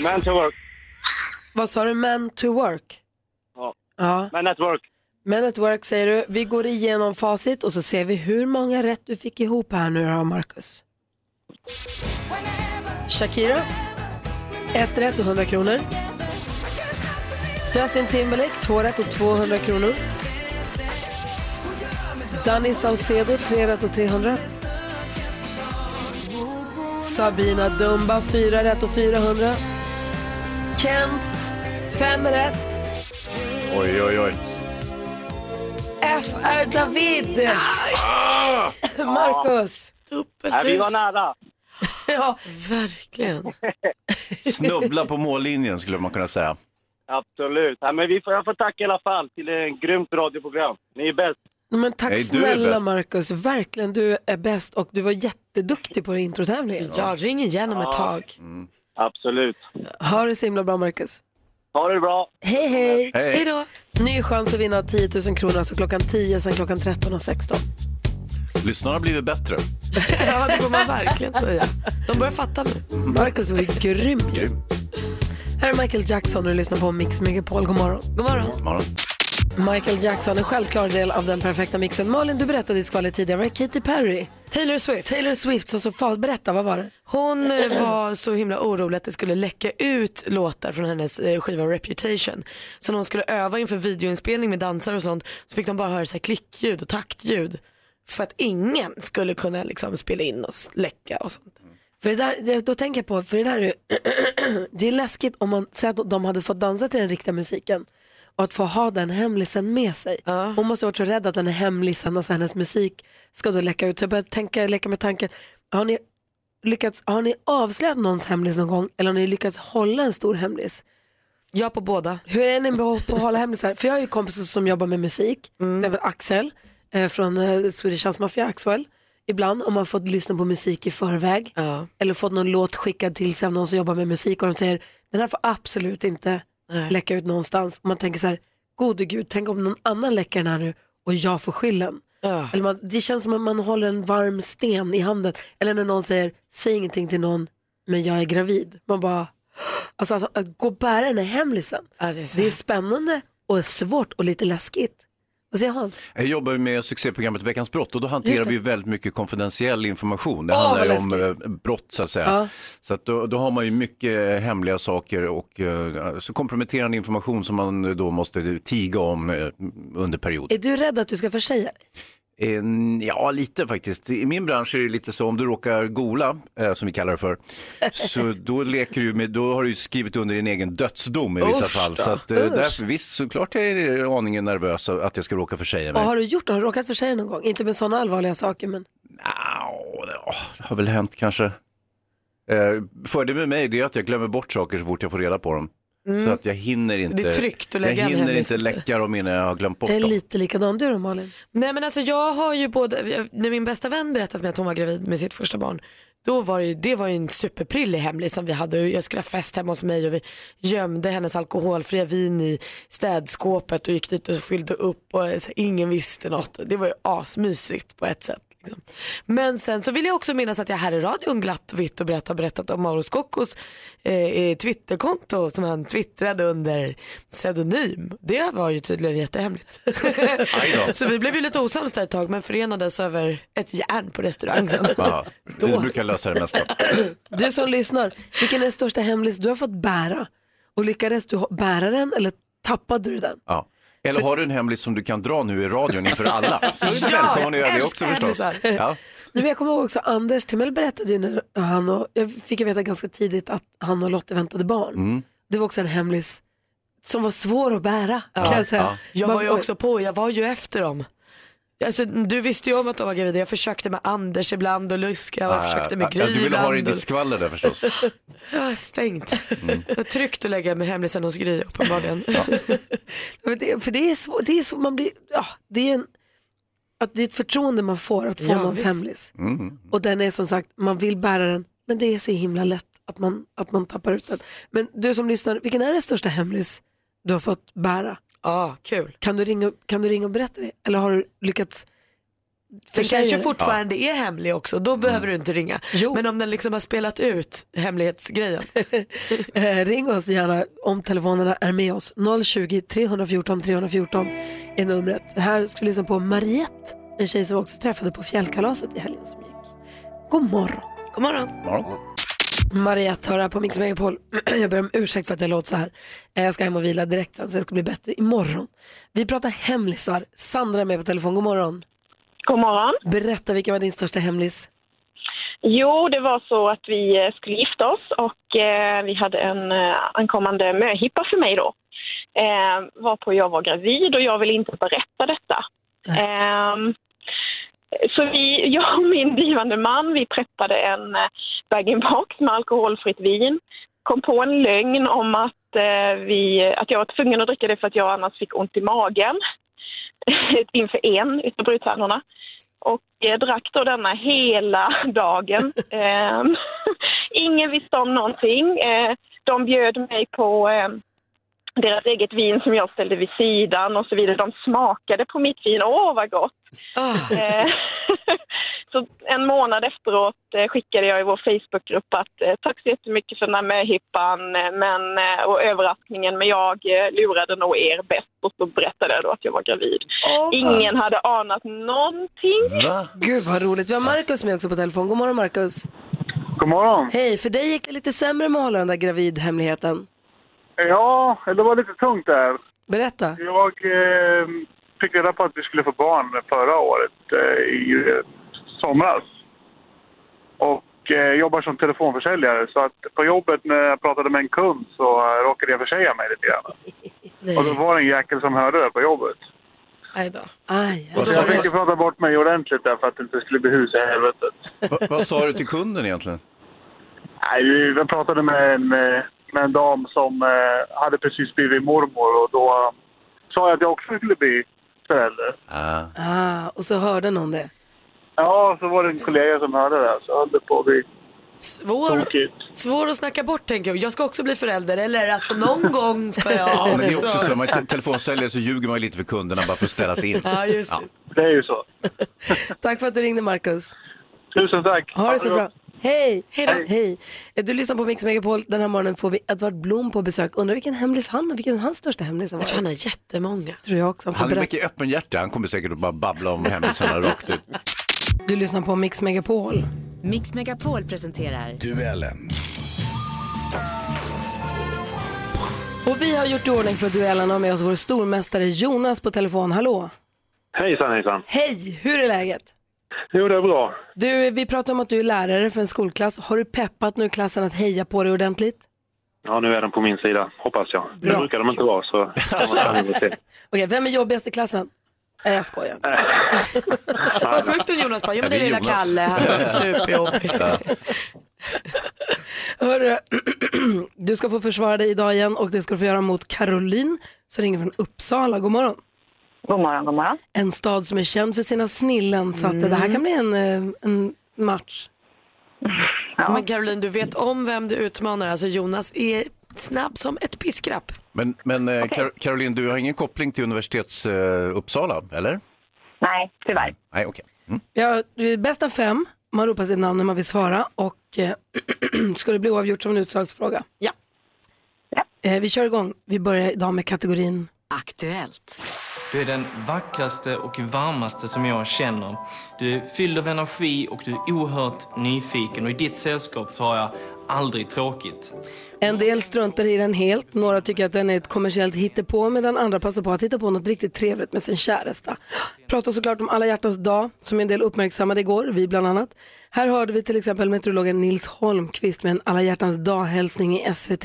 S9: Man to Work,
S4: Vad sa du? Man to work?
S9: Ja.
S4: ja.
S9: Man at Work.
S4: Men at work säger du. Vi går igenom facit och så ser vi hur många rätt du fick ihop här nu då, Marcus. Shakira. Ett rätt och 100 kronor. Justin Timberlake, två rätt och 200 kronor. Danny Saucedo, tre rätt och 300. Sabina Dumba, fyra rätt och 400. Kent, fem rätt.
S5: Oj, oj, oj.
S4: FR David.
S5: Ah!
S4: [laughs] Marcus.
S9: Nej, vi var nära.
S4: Ja,
S6: Verkligen.
S5: Snubbla på mållinjen skulle man kunna säga.
S9: Absolut. Nej, men vi får, jag får tacka i alla fall till en grymt radioprogram. Ni är bäst.
S4: men tack
S5: Nej, du är
S4: snälla
S5: bäst.
S4: Marcus. Verkligen, du är bäst och du var jätteduktig på introtävlingen.
S6: [laughs] Ja, ring igen om ett tag.
S9: Absolut.
S4: Ha det så himla bra Marcus.
S9: Ha det bra.
S4: Hej hej.
S6: Hej
S5: Hej.
S6: då.
S4: Ny chans att vinna 10 000 kronor, alltså klockan 10 sen klockan 13 och 16.
S5: Lyssnarna har blivit bättre.
S6: Ja, det [laughs] får man verkligen säga. De börjar fatta nu.
S4: Marcus var ju grym.
S5: Grym.
S4: Här är Michael Jackson och du lyssnar på Mix Megapol. God morgon.
S6: God morgon.
S5: Morgon.
S4: Michael Jackson är en självklar del av den perfekta mixen. Malin, du berättade i skvallret tidigare, var det Katy Perry?
S6: Taylor Swift.
S4: Taylor Swift, så, så fa- berätta, vad var det?
S6: Hon eh, var så himla orolig att det skulle läcka ut låtar från hennes eh, skiva Reputation. Så när hon skulle öva inför videoinspelning med dansare och sånt så fick de bara höra så här klickljud och taktljud. För att ingen skulle kunna liksom spela in och s- läcka och sånt.
S4: För det där, det- då tänker jag på, [clears throat] för det där är ju- det är läskigt om man säger att de hade fått dansa till den riktiga musiken och att få ha den hemlisen med sig. Hon måste ha varit så rädd att den här hemlisen, alltså hennes musik, ska då läcka ut. Så jag började tänka, leka med tanken, har ni, lyckats, har ni avslöjat någons hemlis någon gång eller har ni lyckats hålla en stor hemlis?
S6: Jag på båda.
S4: Hur är ni på på att hålla hemlisar? För jag har ju kompisar som jobbar med musik,
S6: Mm.
S4: till exempel Axel eh, från eh, Swedish House Mafia, Axwell. Ibland om man fått lyssna på musik i förväg
S6: Ja.
S4: eller fått någon låt skickad till sig av någon som jobbar med musik och de säger den här får absolut inte
S6: Nej.
S4: läcka ut någonstans. Och man tänker så här, gode gud, tänk om någon annan läcker den här nu och jag får skylden.
S6: Ja.
S4: Eller man, det känns som att man håller en varm sten i handen. Eller när någon säger, säg ingenting till någon, men jag är gravid. Man bara, alltså att, att gå och bära den här hemlisen.
S6: Ja, det är så.
S4: Det är spännande och svårt och lite läskigt. Vad säger Hans?
S5: Jag jobbar ju med succéprogrammet Veckans brott och då hanterar
S4: Just det.
S5: vi ju väldigt mycket konfidentiell information. Det
S4: Åh,
S5: handlar ju
S4: vad
S5: om
S4: läskigt.
S5: eh, brott så att säga. Så att då, då har man ju mycket eh, hemliga saker och eh, så komprometterande information som man då måste tiga om eh, under perioden.
S4: Är du rädd att du ska försäga dig?
S5: En- Ehm, Ja, lite faktiskt. I min bransch är det lite så om du råkar gola, eh, som vi kallar det
S6: [laughs]
S5: för, så då, leker du med, då har du ju skrivit under din egen dödsdom i vissa
S6: Usch
S5: fall.
S6: då.
S5: Så att, eh, därför, visst, såklart är jag aningen nervös att jag ska råka försäga mig.
S4: Och har du gjort det? Har du råkat försäga dig någon gång? Inte med sådana allvarliga saker men
S5: Au, det åh, det har väl hänt kanske. Eh, Fördelen med mig det är att jag glömmer bort saker så fort jag får reda på dem. Så att jag hinner inte,
S6: Mm. det är tryggt att
S5: jag
S6: lägga en
S5: hinner
S6: hemlis
S5: inte
S6: efter.
S5: läcka dem innan jag har glömt bort
S4: jag är
S5: dem.
S4: lite likadan du då Malin.
S6: Nej men alltså jag har ju både, när min bästa vän berättade för mig att hon var gravid med sitt första barn, då var det ju, det var ju en superprillig hemlis som liksom. vi hade. Jag skulle ha fest hemma hos mig och vi gömde hennes alkoholfria vin i städskåpet och gick dit och fyllde upp och så här, ingen visste något. Det var ju asmysigt på ett sätt. Liksom. Men sen så vill jag också minnas att jag här i radion glatt och vitt och brett har berättat om Mauro Scoccos eh, eh, Twitterkonto som han twittrade under pseudonym. Det var ju
S5: [laughs]
S6: tydligen jättehemligt. så vi blev ju lite osams där ett tag men förenades över ett järn på restaurang. sen.
S5: Ja, det brukar lösa det mesta.
S4: Du som lyssnar, vilken är den största hemlis du har fått bära? Och lyckades du ha- bära den eller tappade du den?
S5: Ja. Eller har du en hemlis som du kan dra nu i radion inför alla? Så är du
S6: [laughs] Ja,
S5: välkommen att göra det
S6: jag
S5: också
S6: älskar
S5: förstås.
S6: hemlisar.
S5: Ja.
S4: Nej, men jag kommer ihåg också Anders Timell berättade ju när han och, jag fick ju veta ganska tidigt att han och Lotte väntade barn. Det var också en hemlis som var svår att bära kan jag säga.
S6: Jag
S4: Man-
S6: var ju också på, jag var ju efter dem. Alltså, du visste ju om att de var gravida, jag försökte med Anders ibland och Luska, jag försökte med Gry
S5: Ja, Äh, Du ville ha det i
S6: ibland.
S5: ditt skvaller där
S6: [laughs]
S5: förstås.
S6: Ja, stängt.
S5: Mm.
S6: [laughs] Det var tryggt att lägga med hemlisen hos Gry uppenbarligen.
S4: Men det, för det är svårt, det är så, man blir, ja, det är en, att det är ett förtroende man får att få
S6: Ja,
S4: någons
S6: visst.
S4: hemlis. Och den är som sagt, man vill bära den, men det är så himla lätt att man, att man tappar ut den. Men du som lyssnar, vilken är den största hemlis du har fått bära?
S6: [laughs] Ja, kul.
S4: Kan du ringa, kan du ringa och berätta det? Eller har du lyckats
S6: Den
S4: försäga
S6: kanske
S4: det?
S6: fortfarande är hemlig också, då behöver du inte ringa.
S4: Mm. Jo.
S6: Men om den liksom har spelat ut hemlighetsgrejen.
S4: Eh, ring oss gärna om telefonerna är med oss. 020 314 314 är numret. Här ska vi lyssna på Mariette, en tjej som vi också träffade på fjällkalaset i helgen som gick. God morgon.
S6: God morgon.
S4: Mariette hör här på Mix Megapol. [clears throat] jag ber om ursäkt för att jag låter så här. Eh, Jag ska hem och vila direkt sen så jag ska bli bättre imorgon. Vi pratar hemlisar. Sandra är med på telefon. God morgon.
S10: God morgon.
S4: Berätta vilken var din största hemlis?
S10: Jo, det var så att vi eh, skulle gifta oss och eh, vi hade en eh, ankommande möhippa för mig då. Eh, varpå jag var gravid och jag ville inte berätta detta. Ehm, så vi, [laughs] jag och min blivande man, vi preppade en eh, bag-in-box med alkoholfritt vin. Kom på en lögn om att, eh, vi, att jag var tvungen att dricka det för att jag annars fick ont i magen [laughs] inför en utav brudtärnorna. Och eh, drack då denna hela [laughs] dagen. Ehm, [laughs] ingen visste om någonting. Eh, de bjöd mig på eh, deras eget vin som jag ställde vid sidan och så vidare. De smakade på mitt vin. Åh, vad gott!
S6: Ah,
S10: Eh, [laughs] så en månad efteråt eh, skickade jag i vår Facebookgrupp att eh, tack så jättemycket för den här möhippan eh, men, eh, och överraskningen men jag eh, lurade nog er bäst och så berättade jag då att jag var gravid. Ingen hade anat någonting.
S5: Va?
S4: Gud vad roligt. Vi har Markus med också på telefon. God morgon Markus.
S9: God morgon.
S4: Hej, för dig gick det lite sämre med att hålla den där gravidhemligheten.
S9: Ja, det var lite tungt där.
S4: Berätta.
S9: Jag eh, fick reda på att vi skulle få barn förra året eh, i eh, somras. Och
S11: och eh, jobbar som telefonförsäljare. Så att på jobbet när jag pratade med en kund så eh, råkade jag försäga mig lite grann. Och då var det en jäkel som hörde det på jobbet.
S6: Aj då.
S4: Aj,
S11: Och jag fick ju prata bort mig ordentligt där för att det inte skulle bli hus i helvetet.
S5: Va, vad sa du till kunden egentligen?
S11: Nej, vi- jag pratade med en, eh, med en dam som eh, hade precis blivit mormor och då sa jag att jag också skulle bli förälder.
S4: Ah, och så hörde någon det.
S11: Ja, så var det en kollega som hörde det. här, Så höll det på att bli
S6: Svår,
S11: tokigt.
S6: svår att snacka bort tänker jag. Jag ska också bli förälder eller alltså någon gång ska jag
S5: Ja, men det är också
S6: också.
S5: så. Om man är telefonsäljare så ljuger man ju lite för kunderna bara för att ställa sig in.
S6: [laughs] Ja, just det.
S11: Det är ju så.
S4: Tack för att du ringde Marcus.
S11: Tusen tack.
S4: Ha det så bra. Hej!
S6: Hej då.
S4: Hej. Eh, Du lyssnar på Mix Megapol. Den här morgonen får vi Edvard Blom på besök. Undrar vilken hemlis han vilken hans största hemlis har
S6: Jag
S4: varit.
S6: tror han har jättemånga.
S4: tror jag också. Han får
S5: Han är
S4: berätta.
S5: mycket öppenhjärtig. Han kommer säkert att bara babbla om
S6: [laughs]
S5: hemlisarna rakt ut.
S4: Du lyssnar på Mix Megapol.
S12: Mix Megapol presenterar
S13: Duellen.
S4: Och vi har gjort i ordning för duellen och med oss vår stormästare Jonas på telefon. Hallå!
S14: Hejsan hejsan.
S4: Hej! Hur är läget?
S14: Jo det är bra.
S4: Du, vi pratar om att du är lärare för en skolklass. Har du peppat nu klassen att heja på dig ordentligt?
S14: Ja nu är den på min sida, hoppas jag. Det brukar de inte vara så kan man se.
S4: Okej, vem är jobbigast i klassen? Nej, jag skojar.
S6: Vad sjukt om Jonas bara, ja men det är lilla Kalle, han [laughs] är superjobbig.
S4: Hörru, [clears throat] du ska få försvara dig idag igen och det ska du få göra mot Caroline som ringer från Uppsala. God morgon.
S15: God morgon, god morgon. Mm.
S4: En stad som är känd för sina snillen så att det här kan bli en, eh, en match.
S6: Men Caroline, du vet om vem du utmanar. Alltså Jonas är snabb som ett piskrapp.
S5: Men, men eh, Kar- Caroline, du har ingen koppling till universitets eh, Uppsala, eller?
S15: Nej, tyvärr.
S5: Nej, okej. Mm.
S4: Vi har eh, bästa fem, man ropar sitt namn när man vill svara och eh, [clears throat] ska det bli oavgjort som en utslagsfråga? Ja. Eh, vi kör igång. Vi börjar idag med kategorin
S12: Aktuellt.
S3: Du är den vackraste och varmaste som jag känner. Du är fylld av energi och du är oerhört nyfiken och i ditt sällskap så har jag aldrig tråkigt.
S4: En del struntar i den helt, några tycker att den är ett kommersiellt hittepå medan andra passar på att hitta på något riktigt trevligt med sin käresta. Pratar såklart om alla hjärtans dag som en del uppmärksammade igår, vi bland annat. Här hörde vi till exempel meteorologen Nils Holmqvist med en alla hjärtans dag-hälsning i SVT.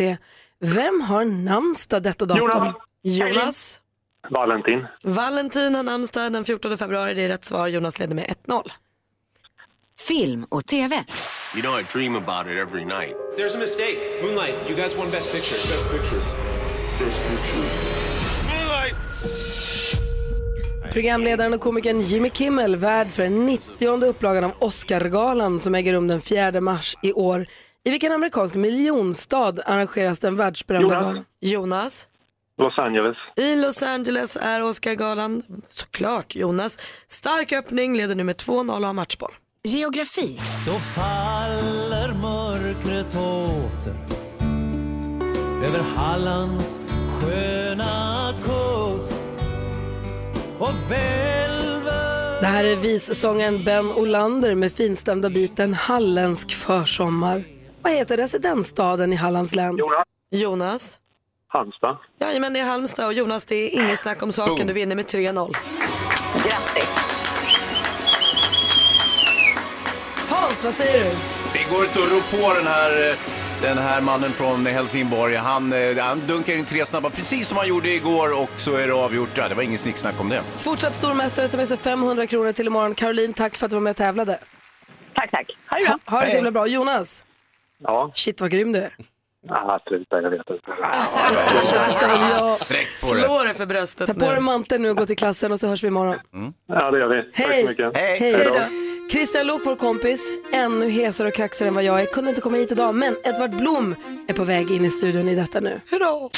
S4: Vem har namnsdag detta datum?
S6: Jonas. Jonas.
S14: Valentin.
S6: Valentin har namnsdag den 14 februari. Det är rätt svar. Jonas leder med 1-0.
S12: Film och TV.
S16: You know, I dream about it every night.
S17: There's a mistake. Moonlight, you guys won Best Picture. Best Picture. Best Picture. Moonlight!
S4: Programledaren och komikern Jimmy Kimmel värd för den 90 upplagan av Oscargalan som äger rum den 4 mars i år. I vilken amerikansk miljonstad arrangeras den världsberömda galan?
S6: Jonas.
S14: Los Angeles.
S6: I Los Angeles är Oscargalan. Såklart Jonas. Stark öppning, leder nu med 2-0 och har matchboll.
S12: Geografi.
S18: Då faller mörkret åter över Hallands sköna kust och välver
S4: Det här är vissångaren Ben Olander med finstämda biten Halländsk försommar. Vad heter residensstaden i Hallands län?
S6: Jonas.
S14: Halmstad.
S6: Jajamän, det är Halmstad och Jonas, det är inget snack om saken. Du vinner med 3-0.
S4: Hans, vad säger du?
S5: Det går inte att rå på den här, eh, den här mannen från Helsingborg. Han, eh, han dunkar in tre snabba precis som han gjorde igår och så är det avgjort. Ja, det var ingen snicksnack om det.
S4: Fortsatt stormästare, tar med sig 500 kronor till imorgon. Caroline, tack för att du var med och tävlade.
S15: Tack, tack. Ha det bra.
S4: Ha, det så himla bra. Jonas,
S14: Ja.
S4: shit vad grym du är.
S14: Ah, sluta, jag
S4: [laughs]
S14: vet inte.
S4: Det ska väl jag.
S5: Sträck
S14: på det.
S6: dig för bröstet
S4: Ta på dig manteln nu och gå till klassen och så hörs vi imorgon.
S14: Ja det gör vi. Tack så
S4: Hej!
S14: mycket.
S4: Hej! Christian Lok, vår kompis, ännu hesare och kraxigare än vad jag är, kunde inte komma hit idag, men Edvard Blom är på väg in i studion i detta nu.
S6: Hurra!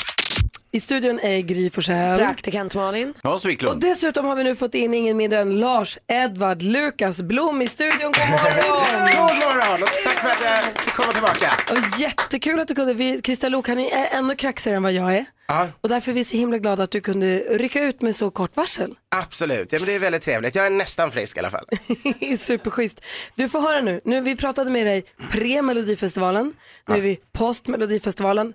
S4: I studion är Gry Forssell.
S6: Praktikant Malin.
S5: Hans
S4: Och
S5: Wiklund.
S4: dessutom har vi nu fått in ingen mindre än Lars Edvard Lukas Blom i studion. God morgon!
S19: God morgon och tack för att jag fick komma tillbaka.
S4: Och jättekul att du kunde. Vi, Christian Lok, han är ännu kraxigare än vad jag är.
S19: Ja.
S4: Och därför är vi så himla glada att du kunde rycka ut med så kort varsel.
S19: Absolut, ja, men det är väldigt trevligt. Jag är nästan frisk i alla fall.
S4: [laughs] Superschysst. Du får höra nu, nu vi pratade med dig pre-melodifestivalen, nu är vi post-melodifestivalen.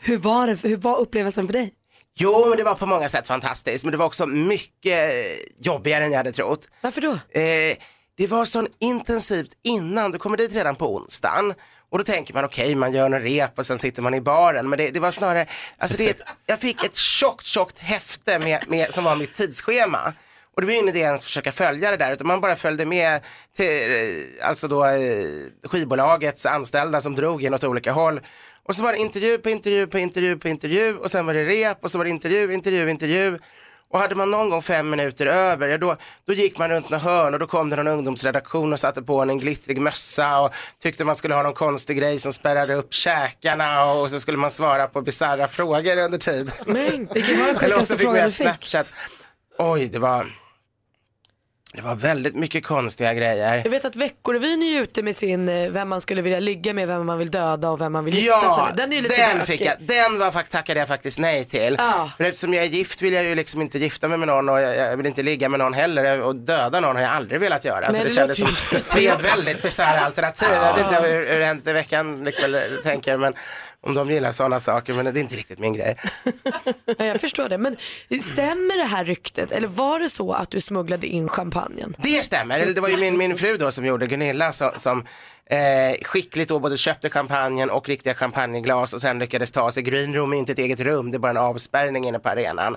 S4: Hur var det, hur var upplevelsen för dig?
S19: Jo, men det var på många sätt fantastiskt, men det var också mycket eh, jobbigare än jag hade trott.
S6: Varför då?
S19: Eh, Det var sån intensivt innan, du kommer dit redan på onsdagen. Och då tänker man okej, man gör en rep och sen sitter man i baren. Men det, det var snarare, alltså det, är ett- jag fick ett tjockt, tjockt häfte med, med, som var mitt tidsschema. Och det var ju ingen idé ens försöka följa det där, utan man bara följde med till, eh, alltså då, eh, skivbolagets anställda som drog in åt olika håll. Och så var det intervju på intervju på intervju på intervju och sen var det rep och så var det intervju, intervju, intervju. Och hade man någon gång fem minuter över, ja, då, då gick man runt något hörn och då kom det någon ungdomsredaktion och satte på en, en glittrig mössa och tyckte man skulle ha någon konstig grej som spärrade upp käkarna och så skulle man svara på bisarra frågor under tiden.
S6: Men,
S19: [laughs]
S6: vilken var den
S19: Eller också
S6: sjukaste
S19: fick man
S6: frågan
S19: göra
S6: du fick?
S19: Snapchat. Oj, det var, det var väldigt mycket konstiga grejer.
S6: Jag vet att Veckorevyn är ju ute med sin, eh, vem man skulle vilja ligga med, vem man vill döda och vem man vill gifta sig
S19: Ja,
S6: med. Den är ju lite
S19: den
S6: bökig.
S19: fick jag. Alltså, Den var, fakt- tackade jag faktiskt nej till.
S6: Ja.
S19: För eftersom jag är gift vill jag ju liksom inte gifta mig med någon och jag, jag vill inte ligga med någon heller och döda någon har jag aldrig velat göra.
S6: Nej,
S19: så det,
S6: det
S19: kändes som
S6: låter ju-
S19: tre väldigt bisarra alternativ. Jag vet
S6: Ja.
S19: inte hur, hur det hänt i veckan liksom, eller, tänker men om de gillar sådana saker men det är inte riktigt min grej.
S6: [laughs] Ja, jag förstår det. Men stämmer det här ryktet eller var det så att du smugglade in champagnen?
S19: Det stämmer, Eller det var ju min, min fru då som gjorde, Gunilla, så, som eh, skickligt då både köpte champagnen och riktiga champagneglas och sen lyckades ta sig, green room är ju inte ett eget rum, det är bara en avspärrning inne på arenan.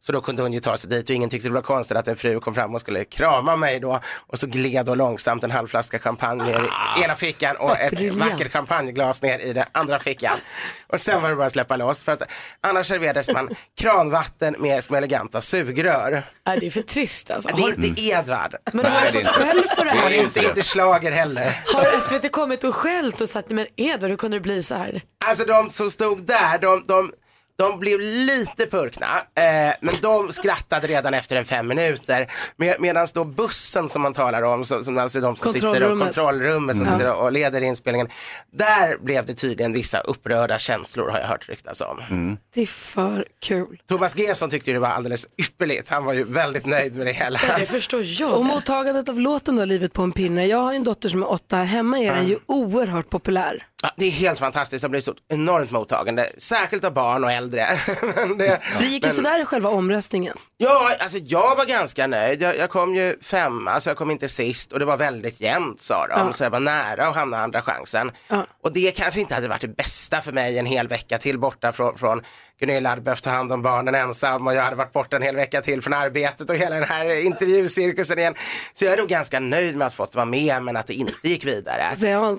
S19: Så då kunde hon ju ta sig dit och ingen tyckte det var konstigt att en fru kom fram och skulle krama mig då och så gled då långsamt en halv flaska champagne ner i ena fickan och ett
S6: Briljant.
S19: vackert champagneglas ner i den andra fickan. Och sen var det bara att släppa loss för att annars serverades man kranvatten med små eleganta sugrör.
S6: Nej, Äh, det är för trist alltså.
S19: Det
S6: Har-
S19: är inte Edvard.
S6: Men har du
S19: det är
S6: fått
S19: inte.
S6: skäll för det här?
S19: Det är inte, inte slager heller.
S6: Har SVT kommit och skällt och sagt, men Edvard hur kunde det bli så här?
S19: Alltså de som stod där, de, de, de blev lite purkna. Eh, men de skrattade redan efter en fem minuter. Med, Medan då bussen som man talar om, som, som alltså de som sitter och
S6: Kontrollrummet.
S19: kontrollrummet som
S6: Mm.
S19: sitter och leder inspelningen. Där blev det tydligen vissa upprörda känslor har jag hört ryktas om.
S4: Det är för kul.
S19: Thomas Gesson tyckte ju det var alldeles ypperligt. Han var ju väldigt nöjd med det hela.
S6: förstår jag.
S4: Och mottagandet av låten då, Livet på en pinne. Jag har ju en dotter som är åtta. Hemma är den ju oerhört populär.
S19: Ja, det är helt fantastiskt, det har blivit så enormt mottagande, särskilt av barn och äldre. [laughs] Men det,
S4: Det gick ju
S19: men-
S4: sådär i själva omröstningen.
S19: Ja, alltså jag var ganska nöjd. Jag, jag kom ju fem, alltså jag kom inte sist och det var väldigt jämnt sa de,
S4: Ja.
S19: så jag var nära att hamna andra chansen. Och det kanske inte hade varit det bästa för mig en hel vecka till borta från, från Gunilla hade behövt ta hand om barnen ensam och jag hade varit borta en hel vecka till från arbetet och hela den här intervjucirkusen igen. Så jag är nog ganska nöjd med att fått vara med men att det inte gick vidare.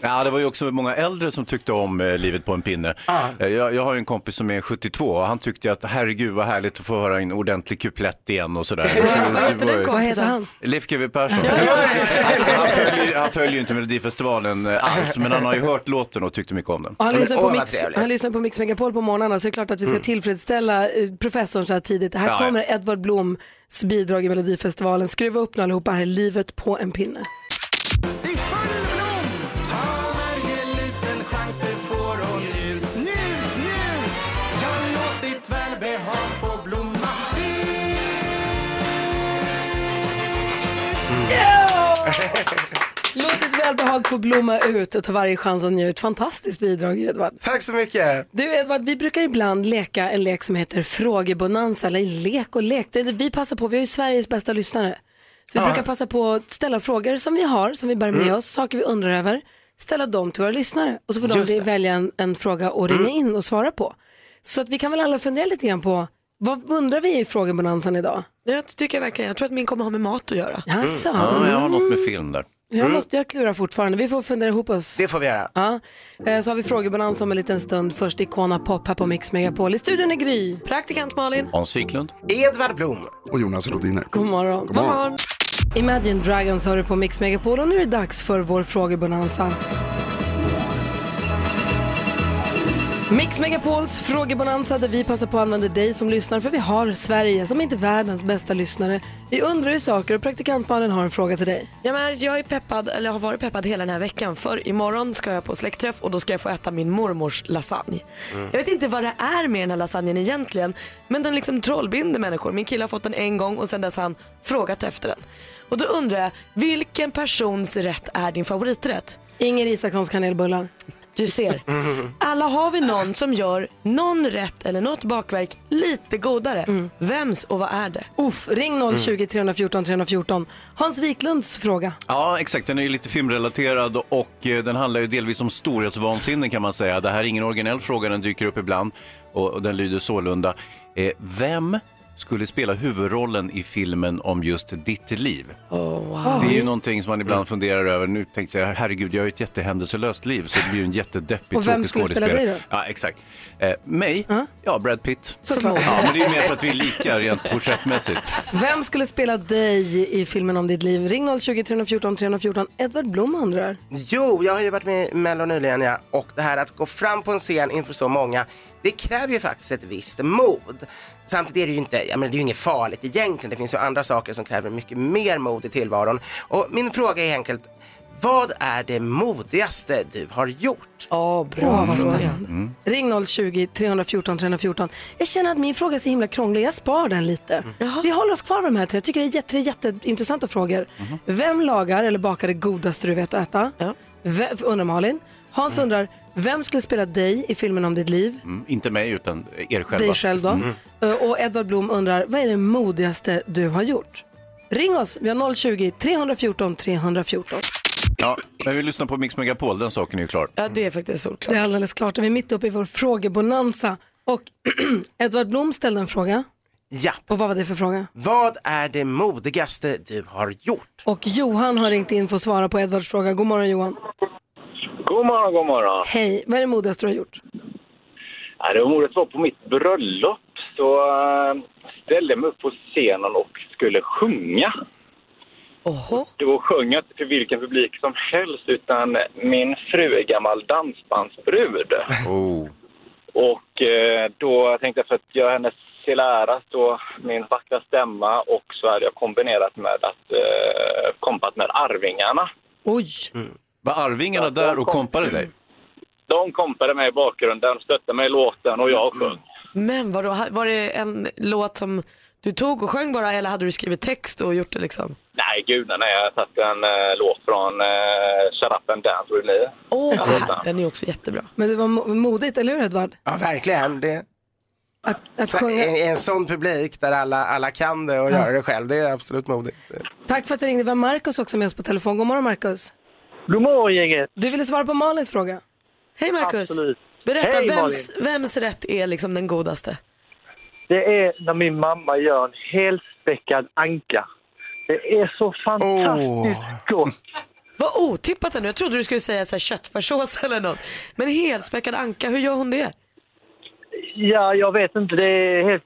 S5: Ja, det var ju också många äldre som tyckte om eh, livet på en pinne. Eh, Jag, jag har ju en kompis som är 72 och han tyckte att herregud vad härligt att få höra en ordentlig kuplett igen
S19: [laughs]
S5: och sådär.
S4: Vad heter den kompisen? Vad heter han?
S5: Leif GW Persson. Han, han, följer, han följer ju inte Melodifestivalen eh, alls men han har ju hört låten och tyckte mycket om den.
S4: Och han, lyssnar på Mix, han lyssnar på Mix Megapol på morgnarna så det är klart att vi ska
S5: Mm.
S4: tillfredsställa eh, professorn så här tidigt. Här
S5: Ja, ja.
S4: kommer Edvard Bloms bidrag i Melodifestivalen. Skruva upp nu allihopa, här är livet på
S6: [laughs]
S4: en pinne.
S20: varje liten chans du får och njut, njut, njut. Ja, låt ditt välbehag få blomma
S4: Låt ditt välbehag få blomma ut och ta varje chans att njut. Fantastiskt bidrag Edvard.
S19: Tack så mycket.
S4: Du Edvard, vi brukar ibland leka en lek som heter frågebonanza, eller lek och lek. Det är det vi passar på, vi har ju Sveriges bästa lyssnare. Så vi
S21: Ja.
S4: brukar passa på att ställa frågor som vi har, som vi bär med
S21: Mm.
S4: oss, saker vi undrar över, ställa dem till våra lyssnare och så får
S21: Just
S4: de
S21: det.
S4: välja en, en fråga och ringa
S21: Mm.
S4: in och svara på. Så att vi kan väl alla fundera lite grann på, vad undrar vi i frågebonanzan idag?
S6: Jag tycker verkligen, jag tror att min kommer ha med mat att göra.
S4: Jaså?
S21: Mm.
S5: Ja, men jag har något med film där.
S4: Jag, måste, jag klurar fortfarande, vi får fundera ihop oss.
S19: Mm. Det får vi göra.
S4: Ja. Eh, Så har vi frågebalans om en liten stund. Först Icona Pop här på Mix Megapol. I studion är Gry.
S6: Praktikant Malin.
S5: Hans Wiklund.
S19: Edvard Blom.
S8: Och Jonas Rodiner.
S4: God morgon.
S8: God morgon.
S4: Imagine Dragons hör du på Mix Megapol och nu är det dags för vår frågebonanza. Mix Megapols frågebonanza där vi passar på att använda dig som lyssnare för vi har Sverige som inte är världens bästa lyssnare. Vi undrar ju saker och praktikantmannen har en fråga till dig.
S6: Ja, men alltså, jag är peppad, eller har varit peppad hela den här veckan för imorgon ska jag på släktträff och då ska jag få äta min mormors lasagne.
S21: Mm.
S6: Jag vet inte vad det är med den här lasagnen egentligen men den liksom trollbinder människor. Min kille har fått den en gång och sen dess har han frågat efter den. Och då undrar jag, vilken persons rätt är din favoriträtt?
S4: Inger Isakssons kanelbullar.
S6: Du ser. Alla har vi någon som gör någon rätt eller något bakverk lite godare.
S4: Mm.
S6: Vems och vad är det? Mm.
S4: Uff, ring 020 314 314. Hans Wiklunds fråga.
S5: Ja, exakt. Den är ju lite filmrelaterad och eh, den handlar ju delvis om storhetsvansinne kan man säga. Det här är ingen originell fråga, den dyker upp ibland och, och den lyder sålunda. Eh, vem skulle spela huvudrollen i filmen om just ditt liv?
S4: Oh,
S5: Det är ju någonting som man ibland funderar över. Nu tänkte jag, herregud, jag har ju ett jättehändelselöst liv så det blir ju en jättedeppig
S4: Och vem
S5: tråkig
S4: skulle spela dig
S5: skådespelare. Ja, exakt. Eh, mig? Ja, Brad Pitt.
S4: Såklart.
S5: Ja, men det är ju mer för att vi är lika rent porträttmässigt.
S4: Vem skulle spela dig i filmen om ditt liv? Ring 020 314 314. Edvard Blom undrar.
S19: Jo, jag har ju varit med i Mello nyligen ja, och det här att gå fram på en scen inför så många, det kräver ju faktiskt ett visst mod. Samtidigt är det ju inte, jag menar, det är ju inget farligt egentligen, det finns ju andra saker som kräver mycket mer mod i tillvaron. Och min fråga är enkelt, vad är det modigaste du har gjort?
S4: Ja, Åh, vad
S6: Mm.
S4: spännande. Mm. Ring 020 314 314. Jag känner att min fråga är så himla krånglig, jag spar den lite. Vi håller oss kvar med de här tre, jag tycker det är jätte, jätteintressanta frågor. Vem lagar eller bakar det godaste du vet att äta? Ve- undrar Malin. Hans undrar, vem skulle spela dig i filmen om ditt liv?
S5: Mm, inte mig, utan er själva.
S4: Dig själv då.
S5: Mm.
S4: Eh, Och Edvard Blom undrar, vad är det modigaste du har gjort? Ring oss, vi har 020 314 314.
S5: Ja, men vi lyssnar på Mix Megapol, den saken är ju klar.
S6: Ja, det är faktiskt solklart.
S4: Det är alldeles klart. Vi är mitt uppe i vår frågebonanza. Och [clears throat] Edvard Blom ställde en fråga.
S19: Ja.
S4: Och vad var det för fråga?
S19: Vad är det modigaste du har gjort?
S4: Och Johan har ringt in för att svara på Edvards fråga. God morgon Johan.
S9: God morgon, god morgon.
S4: Hej, vad är det modigaste du har gjort?
S9: Ja, det var modigt var på mitt bröllop. Så eh, ställde jag mig upp på scenen och skulle sjunga.
S6: Oho.
S9: Då sjöng jag inte till vilken publik som helst utan min fru är gammal dansbandsbrud.
S5: Oh.
S9: Och eh, då tänkte jag för att göra hennes till ära så min vackra stämma och så hade jag kombinerat med att eh, kompat med Arvingarna.
S4: Oj!
S5: Var Arvingarna där och kompade dig?
S9: De kompade mig i bakgrunden, stötte mig i låten och jag sjöng.
S6: Men vadå, ha- var det en låt som du tog och sjöng bara eller hade du skrivit text och gjort det liksom?
S9: Nej, gudarna, jag har satt en eh, låt från eh, Shut Up and Dance With Me.
S6: Åh,
S9: Den låten.
S6: den är också jättebra.
S4: Men det var mo- modigt, eller hur Edvard?
S19: Ja, verkligen. Det...
S4: Att,
S19: så,
S4: sjunga-
S19: i, I en sån publik där alla, alla kan det och göra det själv, det är absolut modigt.
S4: Tack för att du ringde. Vi har Markus också med oss på telefon. God morgon Markus.
S22: God morgon gänget.
S4: Du ville svara på Malins fråga.
S6: Hej Marcus.
S22: Absolut.
S6: Berätta,
S22: Hej,
S6: vems, vems rätt är liksom den godaste?
S22: Det är när min mamma gör en helspäckad anka. Det är så fantastiskt gott.
S6: Vad otippat ändå. Jag trodde du skulle säga så här köttfärssås [laughs] eller något. Men helspäckad anka, hur gör hon det?
S22: Ja, jag vet inte. Det är helt...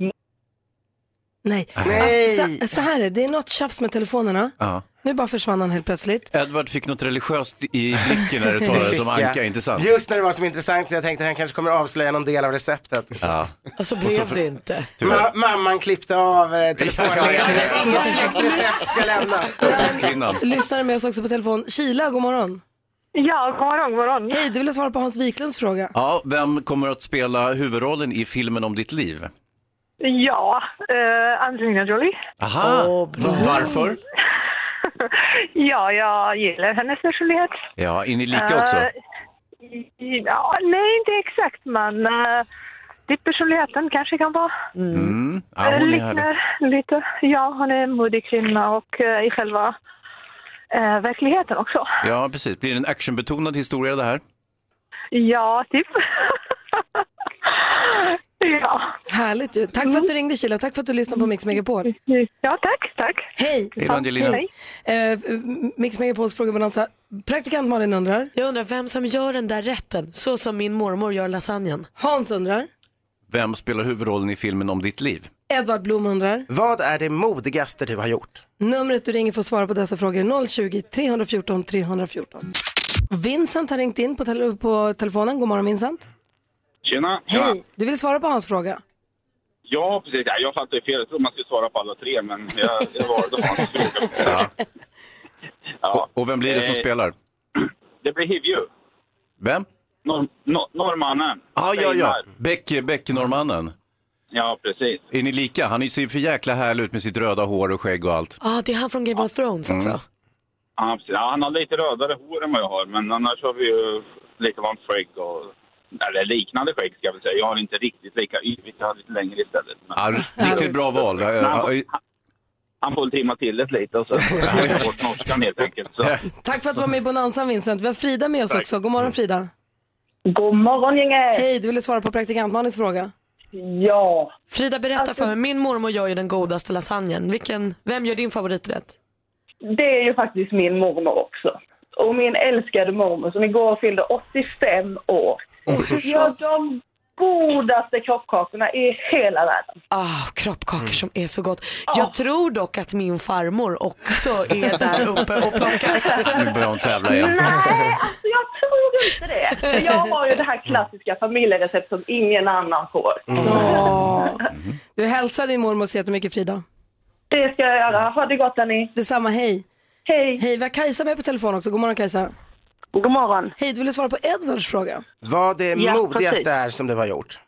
S4: Nej. Alltså, så, så här är det, det är något tjafs med telefonerna.
S5: Ja.
S4: Nu bara försvann han helt plötsligt.
S5: Edvard fick något religiöst i blicken när du talade som
S19: Fick jag.
S5: anka, inte sant?
S19: Just när det var som intressant så jag tänkte att han kanske kommer avslöja någon del av receptet.
S5: Ja.
S6: Och så
S5: blev så för- det
S6: inte.
S5: Tyvärr.
S19: Ma- mamman klippte av eh, telefonledningen. Inget släktrecept ska lämnas.
S5: Upphovskvinnan.
S4: Lyssnare med oss också på telefon. Kila, god morgon.
S7: Ja, god morgon, god morgon.
S4: Hej, du ville svara på Hans Wiklunds fråga.
S5: Ja, vem kommer att spela huvudrollen i filmen om ditt liv?
S7: Ja, eh, Angelina Jolie.
S5: Aha, varför?
S7: [laughs] Ja, jag gillar hennes personlighet.
S5: Ja, är ni lika också?
S7: Eh, i- ja, nej, inte exakt, men uh, det personligheten kanske kan vara.
S5: Mm. Ja, hon är härlig.
S7: liknar lite. Ja, hon är en modig kvinna och eh, i själva eh, verkligheten också.
S5: Ja, precis. Blir det en actionbetonad historia det här?
S7: Ja, typ. [laughs] ja.
S4: Härligt ju. Tack för att du ringde Kila, tack för att du lyssnade på Mix Megapol.
S7: Ja, tack, tack.
S4: Hej.
S5: Hej då, Angelina.
S4: Hej. Eh, Mix Megapols frågebonanza. Praktikant Malin undrar.
S6: Jag undrar vem som gör den där rätten, så som min mormor gör lasagnen.
S4: Hans undrar.
S5: Vem spelar huvudrollen i filmen om ditt liv?
S4: Edvard Blom undrar.
S19: Vad är det modigaste du har gjort?
S4: Numret du ringer för att svara på dessa frågor är 020 314 314. Vincent har ringt in på, tele- på telefonen. God morgon Vincent.
S23: Tjena!
S4: Hej. Du vill svara på hans fråga.
S23: Ja, precis. Ja, jag fattar ju fel. Jag trodde man skulle svara på alla tre, men jag, jag valde att ha en fråga.
S5: Och, och vem blir det som
S23: Eh,
S5: spelar?
S23: Det blir Hivju.
S5: Vem?
S23: Norr, norr, norrmannen.
S5: Ja, ja, ja.
S23: Steinar.
S5: Beck, Beck-norrmannen.
S23: Ja, precis.
S5: Är ni lika? Han ser ju för jäkla härlig ut med sitt röda hår och skägg och allt.
S6: Ja, ah, det är han från Game
S5: Mm.
S6: of Thrones också.
S23: Ja, precis. Ja, han har lite rödare hår än vad jag har, men annars har vi ju likadant skägg och... Eller liknande skägg ska jag väl säga. Jag har inte riktigt lika yvigt, jag har lite längre istället. Men...
S5: Ja,
S24: [laughs]
S5: riktigt bra val.
S23: Men han, får, han, han får väl trimma till det lite och så tar jag bort norskan helt enkelt. Så.
S4: Tack för att du var med i Bonanza Vincent. Vi har Frida med oss
S23: Tack.
S4: också. God morgon Frida.
S24: God morgon gänget.
S4: Hej, du ville svara på praktikant Malins fråga.
S24: Ja.
S6: Frida berätta
S24: Alltså-
S6: för mig, min mormor gör ju den godaste lasagnen. Vilken, vem gör din favoriträtt?
S24: Det är ju faktiskt min mormor också. Och min älskade mormor som igår fyllde 85 år. Gör de godaste kroppkakorna i hela världen.
S6: Ah, kroppkakor
S24: Mm.
S6: som är så gott.
S24: Ah.
S6: Jag tror dock att min farmor
S24: [laughs]
S6: också är där uppe och plockar.
S5: [laughs] Nu börjar hon tävla igen.
S24: Alltså jag tror inte det. För jag har ju det här klassiska familjerecept som ingen annan får.
S4: Mm-hmm. Du hälsar din mormor så jättemycket Frida.
S24: Det ska jag göra. Ha det gott hörni.
S4: Detsamma, hej.
S24: Hej.
S4: Hej, vi har Kajsa med på telefon också. God morgon Kajsa.
S24: God morgon.
S4: Hej, du ville svara på Edvards fråga.
S19: Vad det
S24: Ja,
S19: modigaste
S24: precis.
S19: är som du har gjort?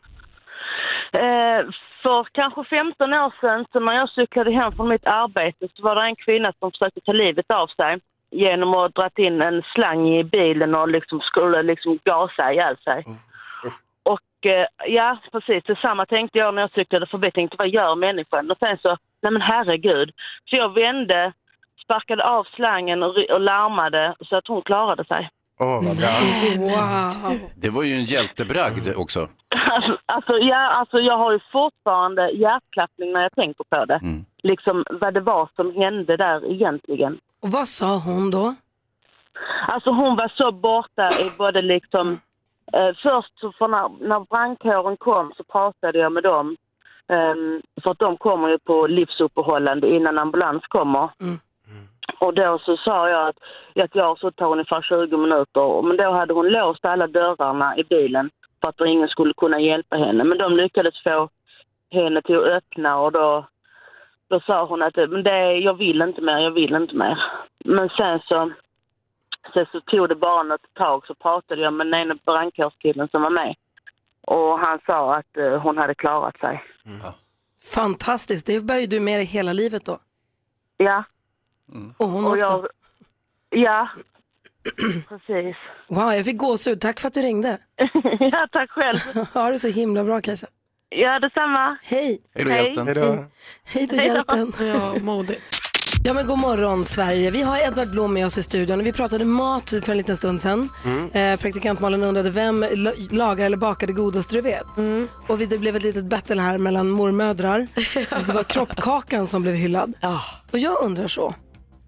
S24: Eh, för kanske 15 år sedan så när jag cyklade hem från mitt arbete så var det en kvinna som försökte ta livet av sig genom att dra in en slang i bilen och liksom skulle liksom gasa ihjäl sig. Och eh, ja, precis. Detsamma tänkte jag när jag cyklade förbi. Tänkte, vad gör människan? Och sen så, nej men herregud. Så jag vände, sparkade av slangen och, ry- och larmade så att hon klarade sig.
S19: Åh, vad bra.
S4: Wow.
S5: Det var ju en hjältebragd också.
S24: Alltså, alltså, ja, alltså jag har ju fortfarande hjärtklappning när jag tänker på det. Liksom vad det var som hände där egentligen.
S4: Och vad sa hon då?
S24: Alltså hon var så borta i både liksom... Eh, först så för när, när brandkåren kom så pratade jag med dem. Ehm, för att de kommer ju på livsuppehållande innan ambulans kommer. Och då så sa jag att, att jag så tar ungefär 20 minuter. Men då hade hon låst alla dörrarna i bilen för att ingen skulle kunna hjälpa henne. Men de lyckades få henne till att öppna och då, då sa hon att "Men det, jag vill inte mer, jag vill inte mer. Men sen så, sen så tog det bara något tag så pratade jag med den ena brandkårskillen som var med. Och han sa att eh, hon hade klarat sig. [laughs]
S4: Fantastiskt, det bär ju du med dig hela livet då. Mm.
S24: Ja.
S4: Och hon
S24: och
S4: också.
S24: jag,
S4: [clears throat]
S24: Ja, precis.
S4: Wow, jag fick gåshud. Tack för att du ringde.
S24: ja, tack själv.
S4: ha det så himla bra Kajsa.
S24: Ja, detsamma.
S4: Hej.
S24: Hej då, Hej. hjälten. Hej då.
S4: Hej. Hej då,
S24: Hej då.
S4: hjälten.
S6: Ja, modigt.
S4: Ja men god morgon Sverige. Vi har Edvard Blom med oss i studion och vi pratade mat för en liten stund sedan.
S25: Mm.
S4: Eh, praktikant Malin undrade vem la- lagar eller bakar det godaste du vet?
S19: Mm.
S4: Och vi- det blev ett litet battle här mellan
S19: [laughs]
S4: mormödrar. det var kroppkakan som blev hyllad. Och jag undrar så,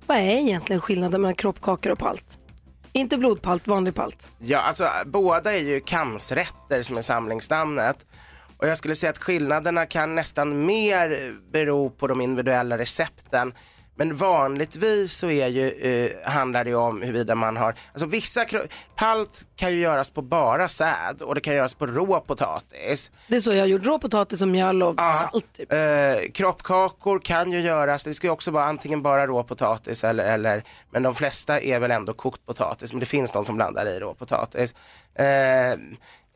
S4: vad är egentligen skillnaden mellan kroppkakor och palt? Inte blodpalt, vanlig palt.
S19: Ja, alltså båda är ju kamsrätter som är samlingsnamnet. Och jag skulle säga att skillnaderna kan nästan mer bero på de individuella recepten. Men vanligtvis så är ju, eh, handlar det ju om huruvida man har, alltså vissa, kro- palt kan ju göras på bara säd och det kan göras på rå potatis.
S4: Det är så jag har gjort, rå potatis och mjöl och
S19: Ja.
S4: salt. typ.
S19: Eh, kroppkakor kan ju göras, det ska ju också vara antingen bara råpotatis eller, eller, men de flesta är väl ändå kokt potatis, men det finns de som blandar i råpotatis. Eh,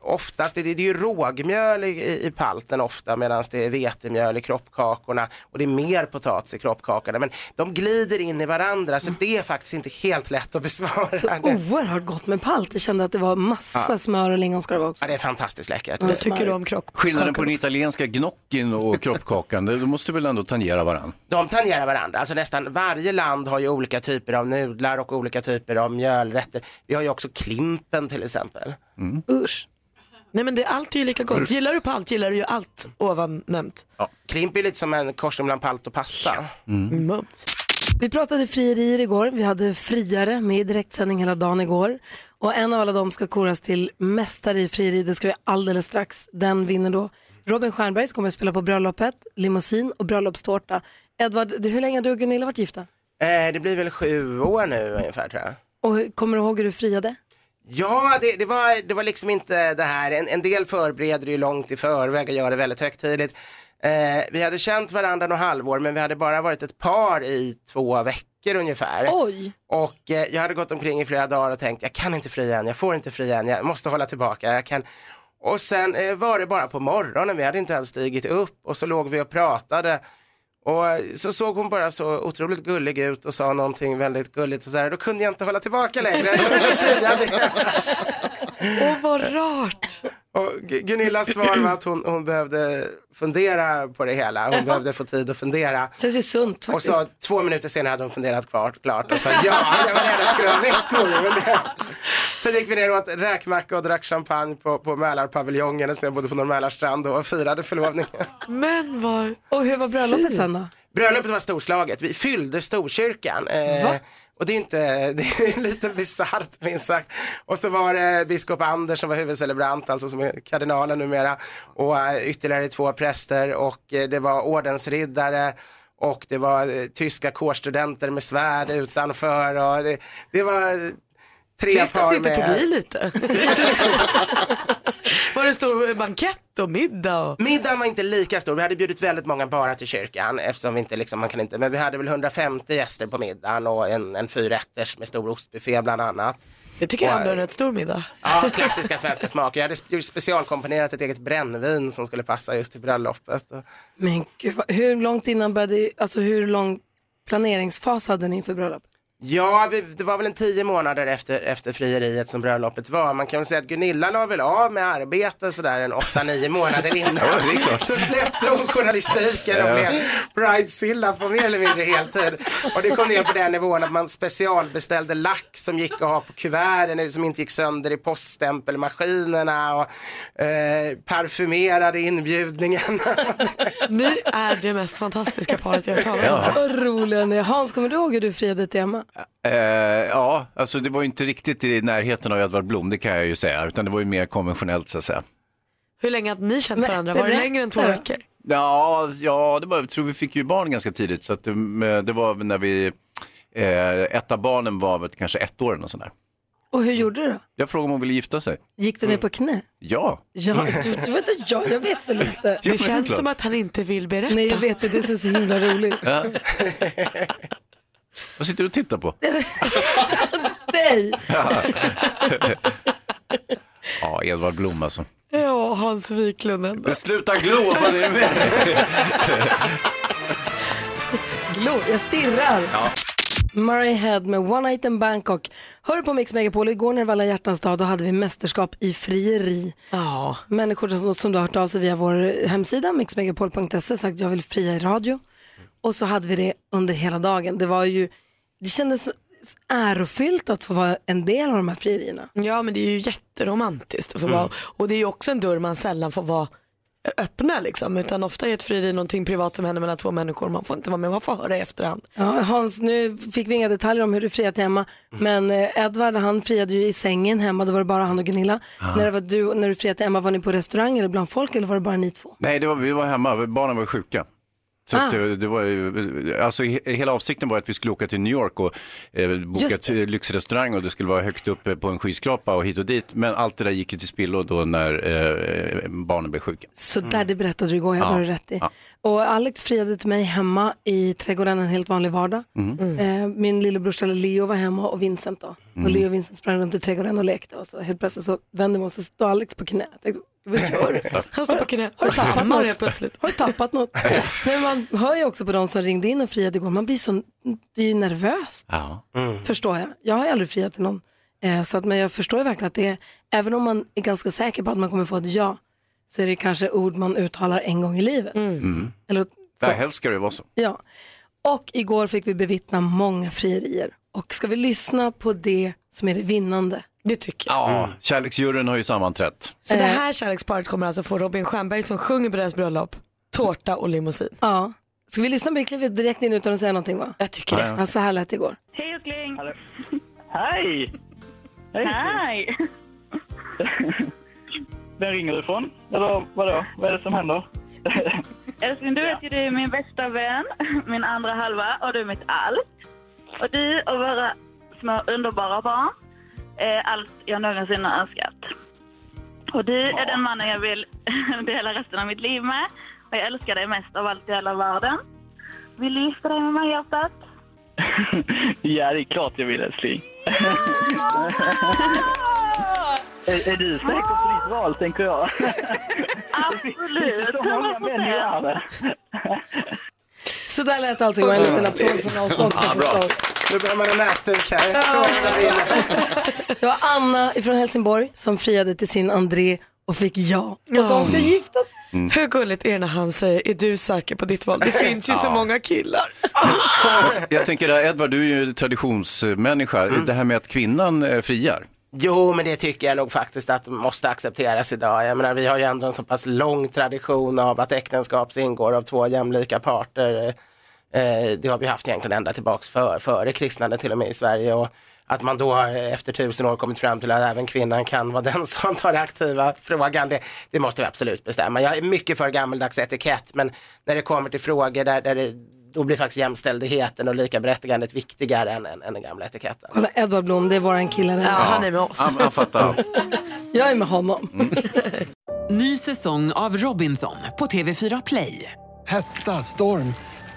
S19: oftast, det, det är ju rågmjöl i, i, i palten ofta, medan det är vetemjöl i kroppkakorna och det är mer potatis i kroppkakorna, men de glider in i varandra, så det är faktiskt inte helt lätt att besvara.
S4: Så
S19: eh, det.
S4: oerhört gott med palt. Jag kände att det var massa
S19: Ja.
S4: smör och lingonskal också.
S19: Ja, det är fantastiskt läckert.
S4: Vad tycker du om kroppkakor?
S5: Skillnaden på den italienska gnocchin och kroppkakan, det- de måste väl ändå tangera varandra?
S19: De tangerar varandra, alltså nästan varje land har ju olika typer av nudlar och olika typer av mjölrätter. Vi har ju också Klimpen till exempel.
S4: Usch.
S6: Nej men det, allt är ju lika gott. Gillar du palt gillar du ju allt ovan nämnt.
S19: Klimp är lite som en korsning mellan palt och pasta.
S6: Mm, Mums.
S4: Vi pratade frierier igår. Vi hade friare med i direktsändning hela dagen igår. Och en av alla dem ska koras till mästare i frieri. Det ska vi alldeles strax. Den vinner då Robin Stjernberg som kommer att spela på bröllopet, limousin och bröllopstårta. Edvard, du- hur länge har du och Gunilla varit gifta?
S19: Eh, det blir väl sju år nu ungefär tror jag.
S4: Och hur- kommer du ihåg hur du friade?
S19: Ja, det, det, var, det var liksom inte det här. En, en del förbereder ju långt i förväg och gör det väldigt högtidligt. Eh, vi hade känt varandra några halvår men vi hade bara varit ett par i två veckor ungefär.
S4: Oj.
S19: Och eh, jag hade gått omkring i flera dagar och tänkt jag kan inte fria än, jag får inte fria än, jag måste hålla tillbaka. Jag kan... Och sen eh, var det bara på morgonen, vi hade inte ens stigit upp och så låg vi och pratade Och eh, så såg hon bara så otroligt gullig ut och sa någonting väldigt gulligt och så här, då kunde jag inte hålla tillbaka längre. Så då friade jag.
S6: Åh vad rart.
S19: Och Gu- Gunillas svar var att hon, hon behövde fundera på det hela. Hon behövde få tid att fundera.
S4: Känns ju sunt
S19: Och så
S4: faktiskt.
S19: två minuter senare hade hon funderat klart, klart och sa ja, jag var rädd att det skulle vara veckor. Men det... Sen gick vi ner och åt räkmacka och drack champagne på, på Mälarpaviljongen och sen bodde på Norr Mälarstrand och firade förlovningen.
S6: Men vad...
S4: Och hur var bröllopet sen då?
S19: Bröllopet var storslaget. Vi fyllde Storkyrkan. Eh,
S4: Va?
S19: Och det är, inte, det är lite bisarrt minst sagt. Och så var det biskop Anders som var huvudcelebrant, alltså som är kardinalen numera. Och eh, ytterligare två präster och eh, det var ordensriddare och det var eh, tyska kårstudenter med svärd utanför. Och det, det var tre
S6: Trist
S19: par
S6: att ni inte
S19: med...
S6: tog i lite. [laughs] var det stor bankett och middag? Och...
S19: Middagen var inte lika stor. Vi hade bjudit väldigt många bara till kyrkan eftersom vi inte liksom, man kan inte, men vi hade väl 150 gäster på middagen och en, en fyrrätters med stor ostbuffé bland annat.
S6: Jag tycker ändå det är en rätt stor middag.
S19: Ja, klassiska svenska smaker. Jag hade sp- specialkomponerat ett eget brännvin som skulle passa just till bröllopet. Och-
S4: Men gud, vad- hur långt innan började, alltså hur lång planeringsfas hade ni inför bröllopet?
S19: Ja, vi, det var väl en tio månader efter, efter frieriet som bröllopet var. Man kan väl säga att Gunilla la väl av med arbete sådär en åtta, nio
S5: [laughs]
S19: månader innan.
S5: Ja, det är klart.
S19: Då släppte hon journalistiken och
S5: Ja.
S19: blev bridezilla på mer eller mindre heltid. Och det kom ner på den nivån att man specialbeställde lack som gick att ha på kuverten som inte gick sönder i poststämpelmaskinerna och eh, parfymerade inbjudningen.
S6: Ni är det mest fantastiska paret jag har hört
S5: Ja.
S6: talas om.
S4: Vad roliga ni är. Hans, kommer du ihåg hur du friade till Emma?
S5: Eh, ja, alltså det var ju inte riktigt i närheten av Edvard Blom, det kan jag ju säga, utan det var ju mer konventionellt så att säga.
S6: Hur länge har ni känt varandra? Var det
S4: berätta
S6: längre än två
S4: då.
S6: veckor?
S5: Ja, ja det var, jag tror vi fick ju barn ganska tidigt, så att det, men det var när vi, eh, ett av barnen var väl kanske ett år eller sånt där.
S4: Och hur gjorde du då?
S5: Jag frågade om hon ville gifta sig.
S4: Gick du ner på knä?
S5: Ja.
S4: Ja, du, du vet inte, jag, jag vet väl inte.
S5: Det känns klart. som
S6: att han inte vill berätta.
S4: Nej, jag vet det. Det är så himla roligt.
S5: ja. Vad sitter du och tittar på?
S4: [laughs] Dig!
S5: Ja, ja Edvard Blom alltså.
S6: Ja, Hans Wiklund ändå.
S5: Men sluta glo, vad fan är det med
S4: Glo, jag stirrar.
S5: Ja.
S4: Murray Head med One Night in Bangkok. Hör på Mix Megapol, igår när det var alla hjärtans dag då hade vi mästerskap i frieri.
S6: Ja.
S4: Människor som, som du har hört av sig via vår hemsida mixmegapol.se sagt jag vill fria i radio. Och så hade vi det under hela dagen. Det var ju, det kändes så- så ärofyllt att få vara en del av de här frierierna.
S6: Ja, men det är ju jätteromantiskt att få
S5: Mm.
S6: vara. Och det är ju också en dörr man sällan får vara öppna liksom. Utan ofta är ett frieri någonting privat som händer mellan två människor. Man får inte vara med, man får höra i efterhand.
S4: Ja, Hans, nu fick vi inga detaljer om hur du friade till Emma,
S5: Mm.
S4: men eh, Edvard han friade ju i sängen hemma, då var det bara han och Gunilla.
S5: Ja.
S4: När, det var du, när du friade till Emma, var ni på restaurang eller bland folk eller var det bara ni två?
S5: Nej, det var, vi var hemma, barnen var sjuka. Så att
S4: Ah.
S5: det, det var ju, alltså he- hela avsikten var att vi skulle åka till New York och eh, boka
S4: Just
S5: ett eh, lyxrestaurang och det skulle vara högt uppe på en skyskrapa och hit och dit. Men allt det där gick ju till spillo då när eh, barnen blev sjuka.
S4: Så där, det berättade du igår, jag
S5: Ja.
S4: har du rätt i.
S5: Ja.
S4: Och Alex friade till mig hemma i trädgården en helt vanlig vardag.
S5: Mm.
S4: Eh, Min lillebrorsa Leo var hemma och Vincent då. Och
S5: Mm.
S4: Leo och Vincent sprang runt i trädgården och lekte och så helt plötsligt så vände man och så står Alex på knä. Jag tänkte, vad gör du?
S6: Han står på knä.
S4: Har du tappat
S6: Stammar helt
S4: något?
S6: plötsligt.
S4: Har du tappat något? Men man hör ju också på de som ringde in och friade igår, man blir så det är ju nervös,
S5: Ja.
S4: förstår jag. Jag har ju aldrig friat till någon. Eh, Så att, men jag förstår ju verkligen att det är, även om man är ganska säker på att man kommer få ett ja, så är det kanske ord man uttalar en gång i livet.
S5: Mm.
S4: Eller,
S5: Ja, helst ska det ju vara så.
S4: ja. Och igår fick vi bevittna många frierier. Och ska vi lyssna på det som är det vinnande?
S6: Det tycker
S5: Ja, Mm. kärleksjuryn har ju sammanträtt.
S6: Så
S4: Eh.
S6: det här kärleksparet kommer alltså få Robin Stjernberg som sjunger på deras bröllop, tårta och limousin.
S4: Ja. Ska vi lyssna på det? kliver direkt in utan att säga någonting va?
S6: Jag tycker
S4: det.
S6: det.
S4: Ja, så här lät det igår.
S15: Hej Utling!
S9: Hej!
S15: Hej!
S9: Vem ringer du ifrån? Eller vadå? Vad är det som händer?
S15: Älskling, du vet ju du är min bästa vän, min andra halva och du är mitt allt. Och du och våra små underbara barn är allt jag någonsin har önskat. Och du är den mannen jag vill dela resten av mitt liv med. Och jag älskar dig mest av allt i hela världen. Vill du gifta dig med mig, hjärtat?
S9: Ja, det är klart jag
S18: [laughs]
S9: vill älskling. är, är du säker på ditt val, tänker jag?
S15: Absolut!
S9: [laughs] Så många män i världen.
S4: Så där lät alltså Johan, en liten applåd från oss också.
S19: Ja, bra.
S4: förstås.
S19: Nu börjar man en näsduk här.
S4: Det var Anna från Helsingborg som friade till sin André och fick ja. Och de ska gifta sig.
S6: Hur gulligt är det när han säger, är du säker på ditt val? Det finns ju så
S5: Ja.
S6: många killar.
S5: Jag tänker där, Edvard, du är ju traditionsmänniska. Det här med att kvinnan eh, friar.
S19: Jo, men det tycker jag nog faktiskt att måste accepteras idag. Jag menar, vi har ju ändå en så pass lång tradition av att äktenskap ingår av två jämlika parter. Eh, eh, Det har vi haft egentligen ända tillbaks för, före kristnandet till och med i Sverige. Och att man då har, eh, efter tusen år kommit fram till att även kvinnan kan vara [laughs] den som tar det aktiva frågan, det, det måste vi absolut bestämma. Jag är mycket för gammaldags etikett, men när det kommer till frågor där, där det, då blir faktiskt jämställdheten och likaberättigandet viktigare än, än, än den gamla etiketten.
S4: Kolla Edvard Blom, det är våran kille. där.
S19: Han, han fattar allt.
S4: Jag är med honom.
S1: Ny säsong av Robinson på TV4 Play.
S2: Hetta, storm,